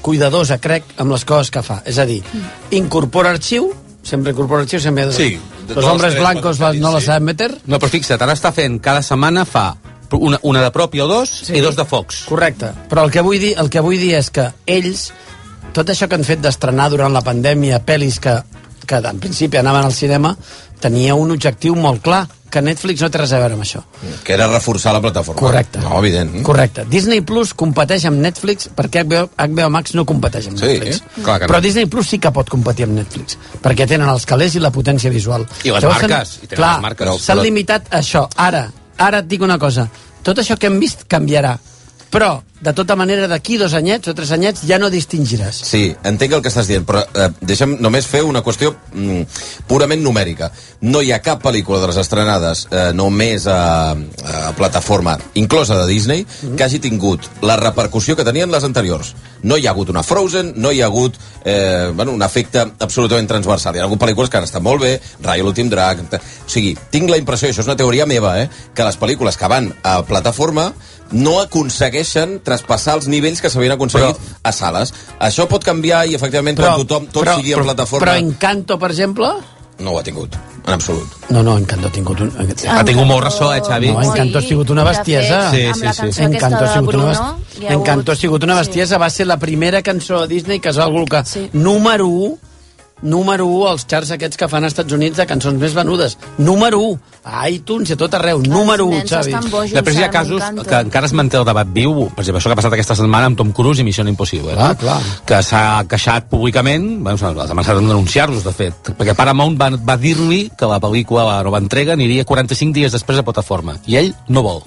S3: cuidadosa, crec, amb les coses que fa. És a dir, incorpora arxiu, sempre incorpora arxiu, sempre...
S6: Sí, de
S3: Los
S6: totes
S3: hombres
S6: les tres
S3: blancos
S6: coses que
S3: no
S6: dius,
S3: les
S6: sí.
S3: saben meter.
S6: No, però fixa't, ara està fent cada setmana fa una, una de pròpia o dos sí. i dos de Fox.
S3: Correcte. Però el que vull dir, el que vull dir és que ells, tot això que han fet d'estrenar durant la pandèmia pel·lis que, que en principi anaven al cinema, tenia un objectiu molt clar, que Netflix no té res a veure amb això.
S1: Que era reforçar la plataforma.
S3: Correcte.
S1: No, evident.
S3: Correcte. Disney Plus competeix amb Netflix perquè HBO, HBO Max no competeix amb
S1: Sí,
S3: Netflix.
S1: eh? Clar que no.
S3: Però Disney Plus sí que pot competir amb Netflix perquè tenen els calés i la potència visual.
S6: I les
S3: s'han-
S6: marques, i tenen
S3: clar,
S6: les marques. Però-
S3: s'han
S6: però-
S3: limitat a això. Ara, ara et dic una cosa. Tot això que hem vist canviarà. Però, de tota manera, d'aquí dos anyets o tres anyets ja no distingiràs.
S1: Sí, entenc el que estàs dient, però eh, deixa'm només fer una qüestió mm, purament numèrica. No hi ha cap pel·lícula de les estrenades eh, només a, a plataforma, inclosa de Disney, que hagi tingut la repercussió que tenien les anteriors. No hi ha hagut una Frozen, no hi ha hagut eh, bueno, un efecte absolutament transversal. Hi ha hagut pel·lícules que han estat molt bé, Rayo l'últim drac... t- O sigui, tinc la impressió, això és una teoria meva, eh, que les pel·lícules que van a plataforma no aconsegueixen traspassar els nivells que s'havien aconseguit però, a sales. Això pot canviar i, efectivament, però, quan tothom, tot però, sigui en plataforma,
S3: Però Encanto, per exemple...
S1: no ho ha tingut, en absolut.
S3: No, no, Encanto ha tingut un...
S6: Ha tingut molt ressò, eh, Xavi?
S3: No, Encanto ha sigut una
S6: de
S3: bestiesa.
S6: fet, Sí, amb la sí, sí. cançó
S3: Encanto
S6: aquesta
S3: ha sigut
S6: de
S3: una
S6: Bruno,
S3: bestiesa.
S6: hi ha hagut-
S3: Encanto ha sigut una bestiesa. Va ser la primera cançó de Disney que es va col·locar número 1 número 1 als charts aquests que fan als Estats Units de cançons més venudes. Número 1 a iTunes i a tot
S6: Ah,
S3: arreu. número 1, Xavi.
S6: Després hi ha casos que encara es manté el debat viu, per exemple, això que ha passat aquesta setmana amb Tom Cruise i Mission Impossible, eh?
S3: Ah, clar.
S6: que s'ha queixat públicament, bueno, s'ha s'ha amenaçat amb denunciar-los, de fet, perquè Paramount va, va dir-li que la pel·lícula, la nova entrega, aniria 45 dies després a plataforma, i ell no vol.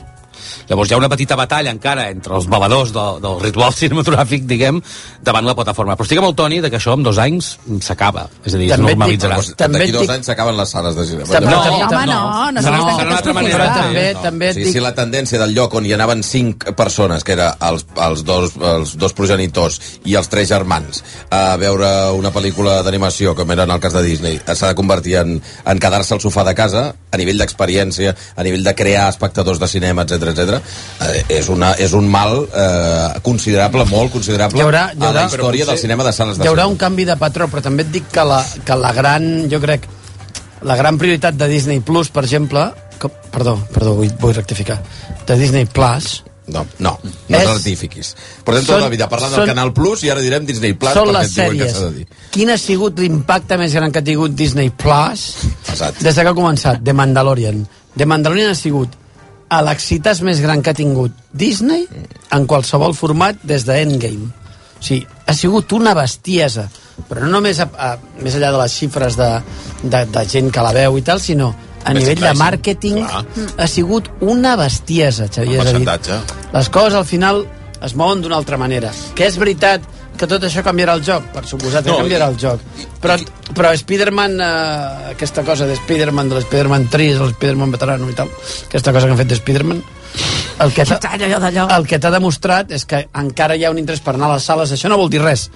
S6: Llavors hi ha una petita batalla encara entre els bavadors del, del ritual cinematogràfic, diguem, davant la plataforma. Però estic amb el Toni de que això en dos anys s'acaba. És a
S3: També
S6: dir,
S3: et
S6: es
S3: dic-
S6: normalitzarà.
S1: També D'aquí dos anys s'acaben les sales de cinema.
S6: També-
S1: Llavors-
S6: No, home, no, no serà- serà una altra manera de fer,
S3: També, també et
S1: Sí,
S3: dic-
S1: sí, la tendència del lloc on hi anaven cinc persones, que era els, els, dos, els dos progenitors i els tres germans, a veure una pel·lícula d'animació, com era en el cas de Disney, s'ha de convertir en, en quedar-se al sofà de casa, a nivell d'experiència, a nivell de crear espectadors de cinema, etc etc. Eh, és, una, és un mal eh, considerable, molt considerable,
S3: Hi haurà- hi
S1: a
S3: haurà-
S1: la
S3: però potser-
S1: història del cinema de sales de
S3: hi haurà
S1: cinema.
S3: un canvi de patró, però també et dic que la, que la gran, jo crec, la gran prioritat de Disney Plus, per exemple, que, perdó, perdó, vull, vull rectificar, de Disney Plus,
S1: No, no, no
S3: És-
S1: és... rectifiquiis. Portem
S3: Són-
S1: tota la vida parlant del
S3: són-
S1: Canal Plus i ara direm Disney Plus
S3: són
S1: perquè
S3: les
S1: et diuen que
S3: sèries.
S1: s'ha de dir.
S3: Quin ha sigut l'impacte més gran que ha tingut Disney Plus
S1: Pesat.
S3: des de que ha començat? The Mandalorian. The Mandalorian ha sigut a l'excitat més gran que ha tingut Disney en qualsevol format des de Endgame. O sigui, ha sigut una bestiesa. Però no només a, a, més enllà de les xifres de, de, de gent que la veu i tal, sinó a
S9: Merchandising,
S3: nivell de màrqueting ha sigut una bestiesa, Xavier. És a dir, les coses al final es mouen d'una altra manera. Que és veritat que tot això canviarà el joc, per suposat que
S1: No,
S3: no, canviarà
S1: i-
S3: el joc. Però, però Spider-Man, eh, aquesta cosa de Spider-Man, de l'Spider-Man 3, el Spider-Man veterano i tal, aquesta cosa que han fet de Spider-Man, el que t'ha- el que t'ha demostrat és que encara hi ha un interès per anar a les sales, això no vol dir res,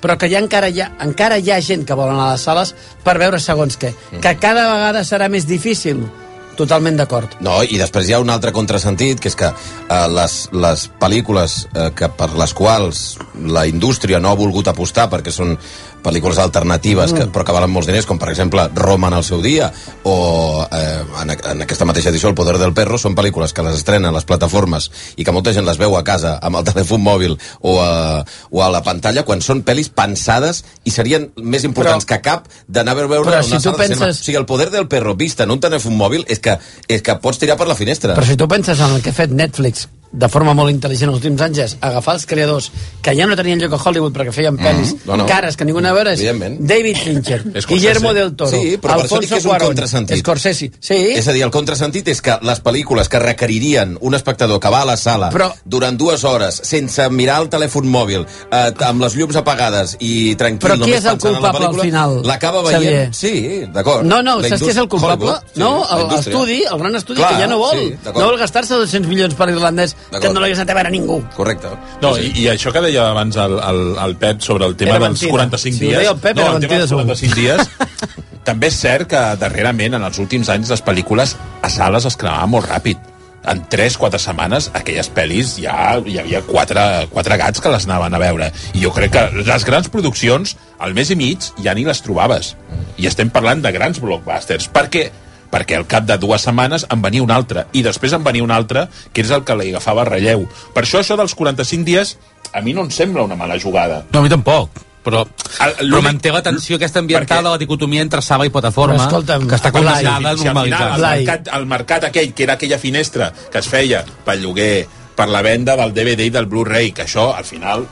S3: però que ja encara hi ha, encara hi ha gent que vol anar a les sales per veure segons què. Que cada vegada serà més difícil. Totalment d'acord.
S1: No, i després hi ha un altre contrasentit, que és que eh, les, les pel·lícules eh, que per les quals la indústria no ha volgut apostar perquè són pel·lícules alternatives
S3: Mm.
S1: que, però que valen molts diners, com per exemple Roma en el seu dia o eh, en, a- en aquesta mateixa edició El poder del perro, són pel·lícules que les estrenen a les plataformes i que molta gent les veu a casa amb el telèfon mòbil o a, o a la pantalla quan són pel·lis pensades i serien més importants però, que cap d'anar a veure
S3: però
S1: una
S3: si tu
S1: sala de cinema.
S3: penses-
S1: O sigui, el poder del perro vista en un telèfon mòbil és que, és que pots tirar per la finestra.
S3: Però si tu penses en el que ha fet Netflix de forma molt intel·ligent els últims anys és agafar els creadors que ja no tenien lloc a Hollywood perquè feien pel·lis
S1: Mm-hmm. no, no.
S3: cares que ningú anava a veure és
S1: Evidentment.
S3: David Fincher,
S1: Scorsese.
S3: Guillermo del Toro
S1: Sí, però per això dic
S3: Alfonso
S1: que és un contrasentit.
S3: Scorsese, sí
S1: És a dir, el contrasentit és que les pel·lícules que requeririen un espectador que va a la sala
S3: Però-
S1: durant dues hores sense mirar el telèfon mòbil, eh, amb les llums apagades i tranquil,
S3: Però qui
S1: només
S3: és el
S1: pensant en la
S3: culpable al
S1: pel·lícula,
S3: final,
S1: L'acaba
S3: Xavier?
S1: veient... Sí, d'acord.
S3: No, no,
S1: La
S3: saps
S1: indústria-
S3: qui és el culpable?
S1: Hollywood, sí,
S3: no,
S1: la
S3: el-
S1: indústria.
S3: l'estudi, el, gran estudi
S1: Clar,
S3: que ja no vol.
S1: sí,
S3: no
S1: d'acord.
S3: vol gastar-se 200 milions per irlandès que no l'hagués anat a veure ningú.
S1: Correcte.
S7: No, i, i això que deia abans el, el, el Pep sobre el tema
S3: Era
S7: dels
S3: mentida.
S7: 45
S3: Si ho
S7: dies...
S3: deia el Pep,
S7: no,
S3: era
S7: el tema dels
S3: mentida,
S7: 45 dies... també és cert que darrerament, en els últims anys, les pel·lícules a sales es cremaven molt ràpid. En 3-4 setmanes, aquelles pel·lis, ja hi havia 4, 4 gats que les anaven a veure. I jo crec que les grans produccions, al mes i mig, ja ni les trobaves. I estem parlant de grans blockbusters. Per què? perquè al cap de dues setmanes en venia un altre i després en venia un altre que és el que li agafava relleu. Per això això dels 45 dies a mi no em sembla una mala jugada.
S6: No, a mi tampoc. Però, però
S7: l'únic-
S6: manté la tensió aquesta ambiental de la dicotomia entre sala i plataforma,
S7: Però escolta'm,
S6: que està
S7: Blai,
S6: condensada a
S7: si al final
S6: normalitat.
S7: el mercat, el mercat aquell, que era aquella finestra que es feia pel lloguer, per la venda del DVD i del Blu-ray, que això al final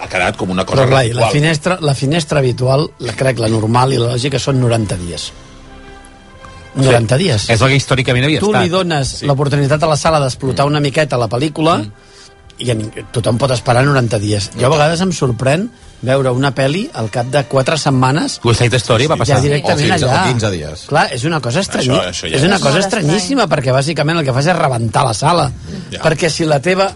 S7: ha quedat com una cosa
S3: Però, Blai, la
S7: ritual.
S3: finestra, la finestra habitual, la crec, la normal i la lògica són 90 dies. 90 dies.
S6: És el que Mm. històricament havia
S3: tu
S6: estat.
S3: li dones sí. l'oportunitat a la sala d'explotar una miqueta la pel·lícula
S6: Mm.
S3: i en, tothom pot esperar 90 dies. Jo a vegades em sorprèn veure una pel·li al cap de 4 setmanes
S6: West Side Story va passar.
S3: ja directament allà. Clar, és una cosa estranyíssima.
S6: Això- això ja
S3: és una
S6: és-
S3: cosa
S6: Molt
S3: estranyíssima perquè bàsicament el que fas és rebentar la sala. Ja. Perquè si la teva...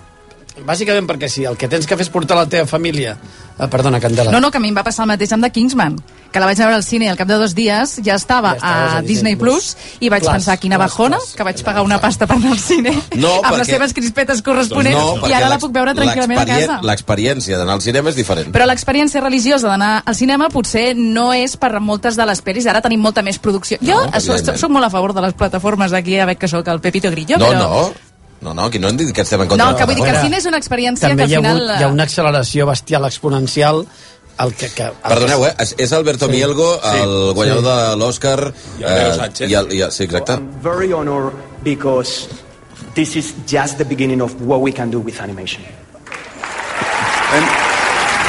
S3: Bàsicament perquè si el que tens que fer és portar la teva família... Ah, perdona, Candela.
S4: No, no, que a mi em va passar el mateix amb The Kingsman, que la vaig veure al cine i al cap de dos dies ja estava ja
S3: estaves
S4: a,
S3: a Disney
S4: Disney Plus i vaig
S3: Plus,
S4: pensar, quina
S3: Plus,
S4: bajona, que vaig pagar una pasta per anar al cine
S1: No,
S4: amb les
S1: perquè-
S4: seves crispetes corresponents
S1: Doncs perquè
S4: i ara la
S1: l'ex-
S4: puc veure tranquil·lament a
S1: l'experien-
S4: casa.
S1: L'experiència d'anar al cinema és diferent.
S4: Però l'experiència religiosa d'anar al cinema potser no és per moltes de les pel·lis. Ara tenim molta més producció. Jo
S1: No,
S4: soc,
S1: evidentment.
S4: soc molt a favor de les plataformes d'aquí, a veure que sóc el Pepito Grillo,
S1: no,
S4: però...
S1: no, no, no, aquí no hem dit que estem en contra.
S4: No,
S1: de
S4: que vull dir que el
S1: plataforma.
S4: cine és una experiència
S3: Ah, També
S4: que
S3: hi ha,
S4: al final...
S3: hagut, hi ha una acceleració bestial exponencial el que, que, el
S1: Perdoneu, eh? És- És Alberto sí. Mielgo, el guanyador
S3: Sí.
S1: sí. de l'Oscar...
S3: I el Pedro
S1: eh, i el, i el, sí, exacte.
S9: very honored because this is just the beginning of what we can do with animation.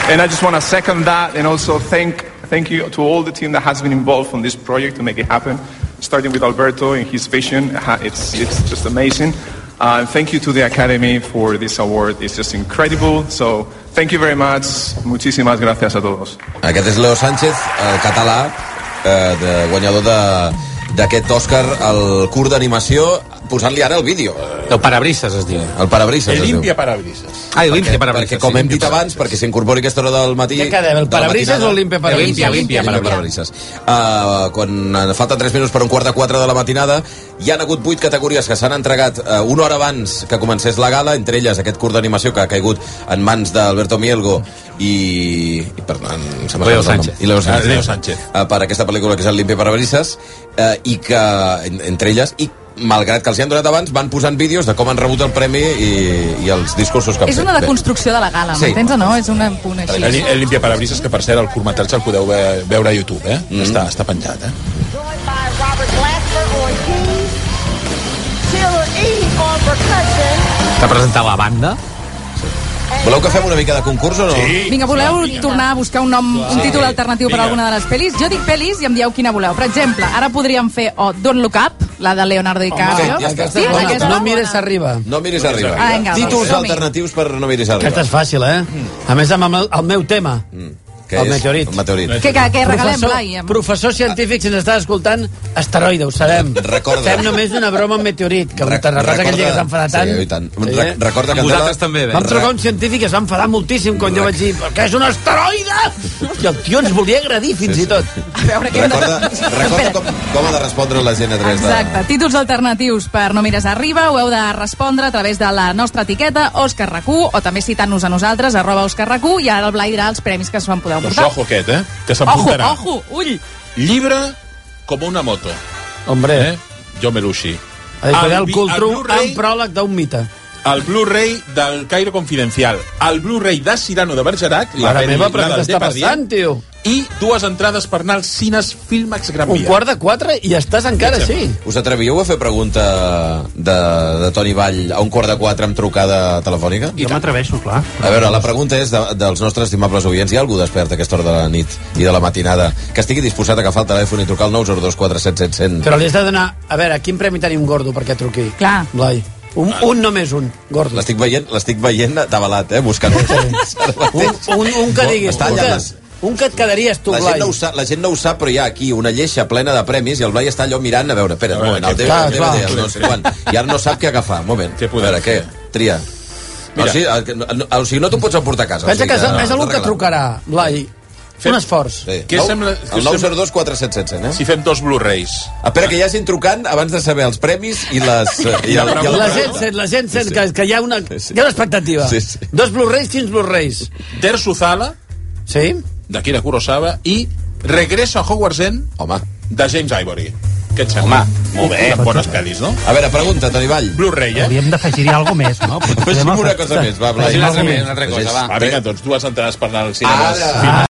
S25: And I just want to second that and also thank, thank you to all the team that has been involved on this project to make it happen, starting with Alberto and his vision. Ha- It's, it's just amazing. Uh, and thank you to the Academy for this award. It's just incredible. So thank you very much. Muchísimas gracias a todos.
S1: Aquest és Leo Sánchez, el català, eh, de guanyador de d'aquest Òscar al curt d'animació posant-li ara el vídeo. eh,
S6: El parabrises es diu.
S1: El parabrises es diu.
S7: Limpia parabrises.
S6: Ah, el
S1: Perquè,
S6: limpia parabrises.
S1: perquè com
S6: sí,
S1: hem
S6: limpia
S1: dit abans, perquè s'incorpori a aquesta hora del matí...
S3: Ja quedem, el
S1: de la
S3: parabrises
S1: matinada.
S3: o el limpia parabrises?
S1: Limpia, limpia,
S3: Limpia
S1: parabrises. Uh, quan eh, falten 3 minuts per un quart de 4 de la matinada, hi han hagut 8 categories que s'han entregat uh, una hora abans que comencés la gala, entre elles aquest curt d'animació que ha caigut en mans d'Alberto Mielgo i... i perdó, em sembla
S7: Leo
S1: que no és el nom.
S7: Sánchez.
S1: I Leo Sánchez.
S7: Ah, Leo Sánchez.
S1: Eh, per aquesta pel·lícula que és el Limpia Parabrises, eh, i que, en- entre elles, i malgrat que els hi han donat abans, van posant vídeos de com han rebut el premi i, i els discursos que han
S4: És
S1: fet.
S4: una
S1: Bé.
S4: deconstrucció de la gala,
S1: Sí.
S4: m'entens o no? És un punt així.
S7: El, el Limpia Parabrises, que per cert el curtmetratge el podeu ve- veure a YouTube, eh? Mm. Està, està penjat, eh?
S20: Taylor E on percussion.
S6: T'ha presentat la banda?
S1: Voleu que fem una mica de concurs o no? Sí.
S4: Vinga, voleu tornar a buscar un nom, un
S1: Sí.
S4: títol alternatiu per
S1: Vinga.
S4: alguna de les pel·lis? Jo dic pel·lis i em dieu quina voleu. Per exemple, ara podríem fer o Don't Look Up, la de Leonardo DiCaprio.
S1: sí, ja està. Aquesta
S4: Sí,
S1: és
S4: aquesta
S1: bona.
S4: no?
S3: No mires arriba. No
S1: No miris
S3: miris
S1: arriba.
S3: arriba. Ah, vinga,
S1: Títols
S3: som-hi.
S1: alternatius per no miris arriba.
S3: Aquesta és fàcil, eh? A més, amb el, el meu tema.
S1: Mm, Que
S3: el
S1: és
S3: meteorit.
S1: El meteorit.
S4: Que- que- que regalem,
S3: professor,
S4: Blai, eh? em-
S3: Professor científic, si ens estàs escoltant, asteroide, ho sabem.
S1: Recorda.
S3: Fem només una broma amb meteorit, que Re Terrabàs aquell dia que s'enfadà tant.
S1: Sí, i tant. Re recorda que...
S3: eh? Vam trucar un científic que es va enfadar moltíssim quan jo vaig dir que és un asteroide! I el tio ens volia agredir, fins i tot.
S4: A veure què hem de-
S1: Recorda, recorda com, com ha de respondre la gent a través de...
S4: Exacte. Títols alternatius per No mires arriba ho heu de respondre a través de la nostra etiqueta Òscar RAC1 o també citant-nos a nosaltres arroba Òscar RAC1 i ara el Blai dirà els premis que es van poder
S7: Doncs
S4: emportar.
S7: ojo aquest, eh? Que s'empuntarà.
S4: Ojo, ojo, ull!
S7: Llibre com una moto.
S3: Hombre.
S7: Eh? Jo Melushi.
S3: A
S7: El
S3: diferent
S7: vi-
S3: el
S7: el
S3: cultru
S7: Blu-ray-
S3: amb pròleg d'un mite.
S7: el Blu-ray del Cairo Confidencial, el Blu-ray de Cyrano de Bergerac, la
S21: Mare meva,
S7: pel·lícula
S21: però què
S7: del
S21: està
S7: Depardieu,
S21: passant, tio?
S7: i dues entrades per anar als cines Filmax Gran
S21: Un
S7: Via.
S21: quart de quatre i estàs encara així.
S1: Us atrevíeu a fer pregunta de, de Toni Vall a un quart de quatre amb trucada telefònica?
S8: Jo m'atreveixo, clar.
S1: A veure, la pregunta és de, dels nostres estimables oients. Hi ha algú despert a aquesta hora de la nit i de la matinada que estigui disposat a agafar el telèfon i trucar al 902 47
S3: Però li has de donar... A veure, quin premi tenim gordo perquè truqui? Clar. Blai. Un, un només un, gordo.
S1: L'estic veient, l'estic veient atabalat, eh? Buscant un,
S3: Un, un, un que diguis,
S1: Està
S3: un
S1: allà,
S3: que,
S1: les-
S3: un que et quedaries tu,
S1: la gent,
S3: Blai.
S1: no ho sap, la gent no ho sap, però hi ha aquí una lleixa plena de premis i el Blai està allò mirant, a veure, espera, un moment, el
S7: què-
S1: DVD, el
S7: clar,
S1: DVD, el
S7: clar.
S1: no sé quan. I ara no sap què agafar, un moment. Què a veure, què? Tria. No,
S7: Mira.
S1: sí, el que- no, no, o sigui, no t'ho pots emportar a casa.
S3: Pensa
S1: o sigui,
S3: que és, és algú que
S1: arreglat.
S3: trucarà, Blai. Un esforç.
S1: Sí.
S7: Què
S1: Nou-
S7: sembla- què
S1: El 902 4777, eh?
S7: Si fem dos Blu-rays.
S1: Espera, que ja hagin trucant abans de saber els premis i les... I el, i el,
S3: La gent sent, la gent sent que, que hi ha una, hi ha una expectativa.
S1: Sí, sí.
S3: Dos Blu-rays, quins Blu-rays?
S7: Ter Suzala,
S3: sí?
S7: d'Akira Kurosawa, i Regreso a Hogwarts End,
S1: Home.
S7: de James Ivory. Què et sembla? Home, molt bé. Bones pel·lis, no?
S1: A veure, pregunta, Toni Vall.
S7: Blu-ray, eh?
S8: Hauríem d'afegir-hi alguna més, no? Potser
S1: Afegim
S8: amb el
S1: una
S8: festa.
S1: cosa més, va, Blai.
S8: Afegim alguna més.
S7: Una altra cosa, va. Ah, vinga, doncs dues entrades per anar al cinema.
S1: Ara.
S7: Filmax.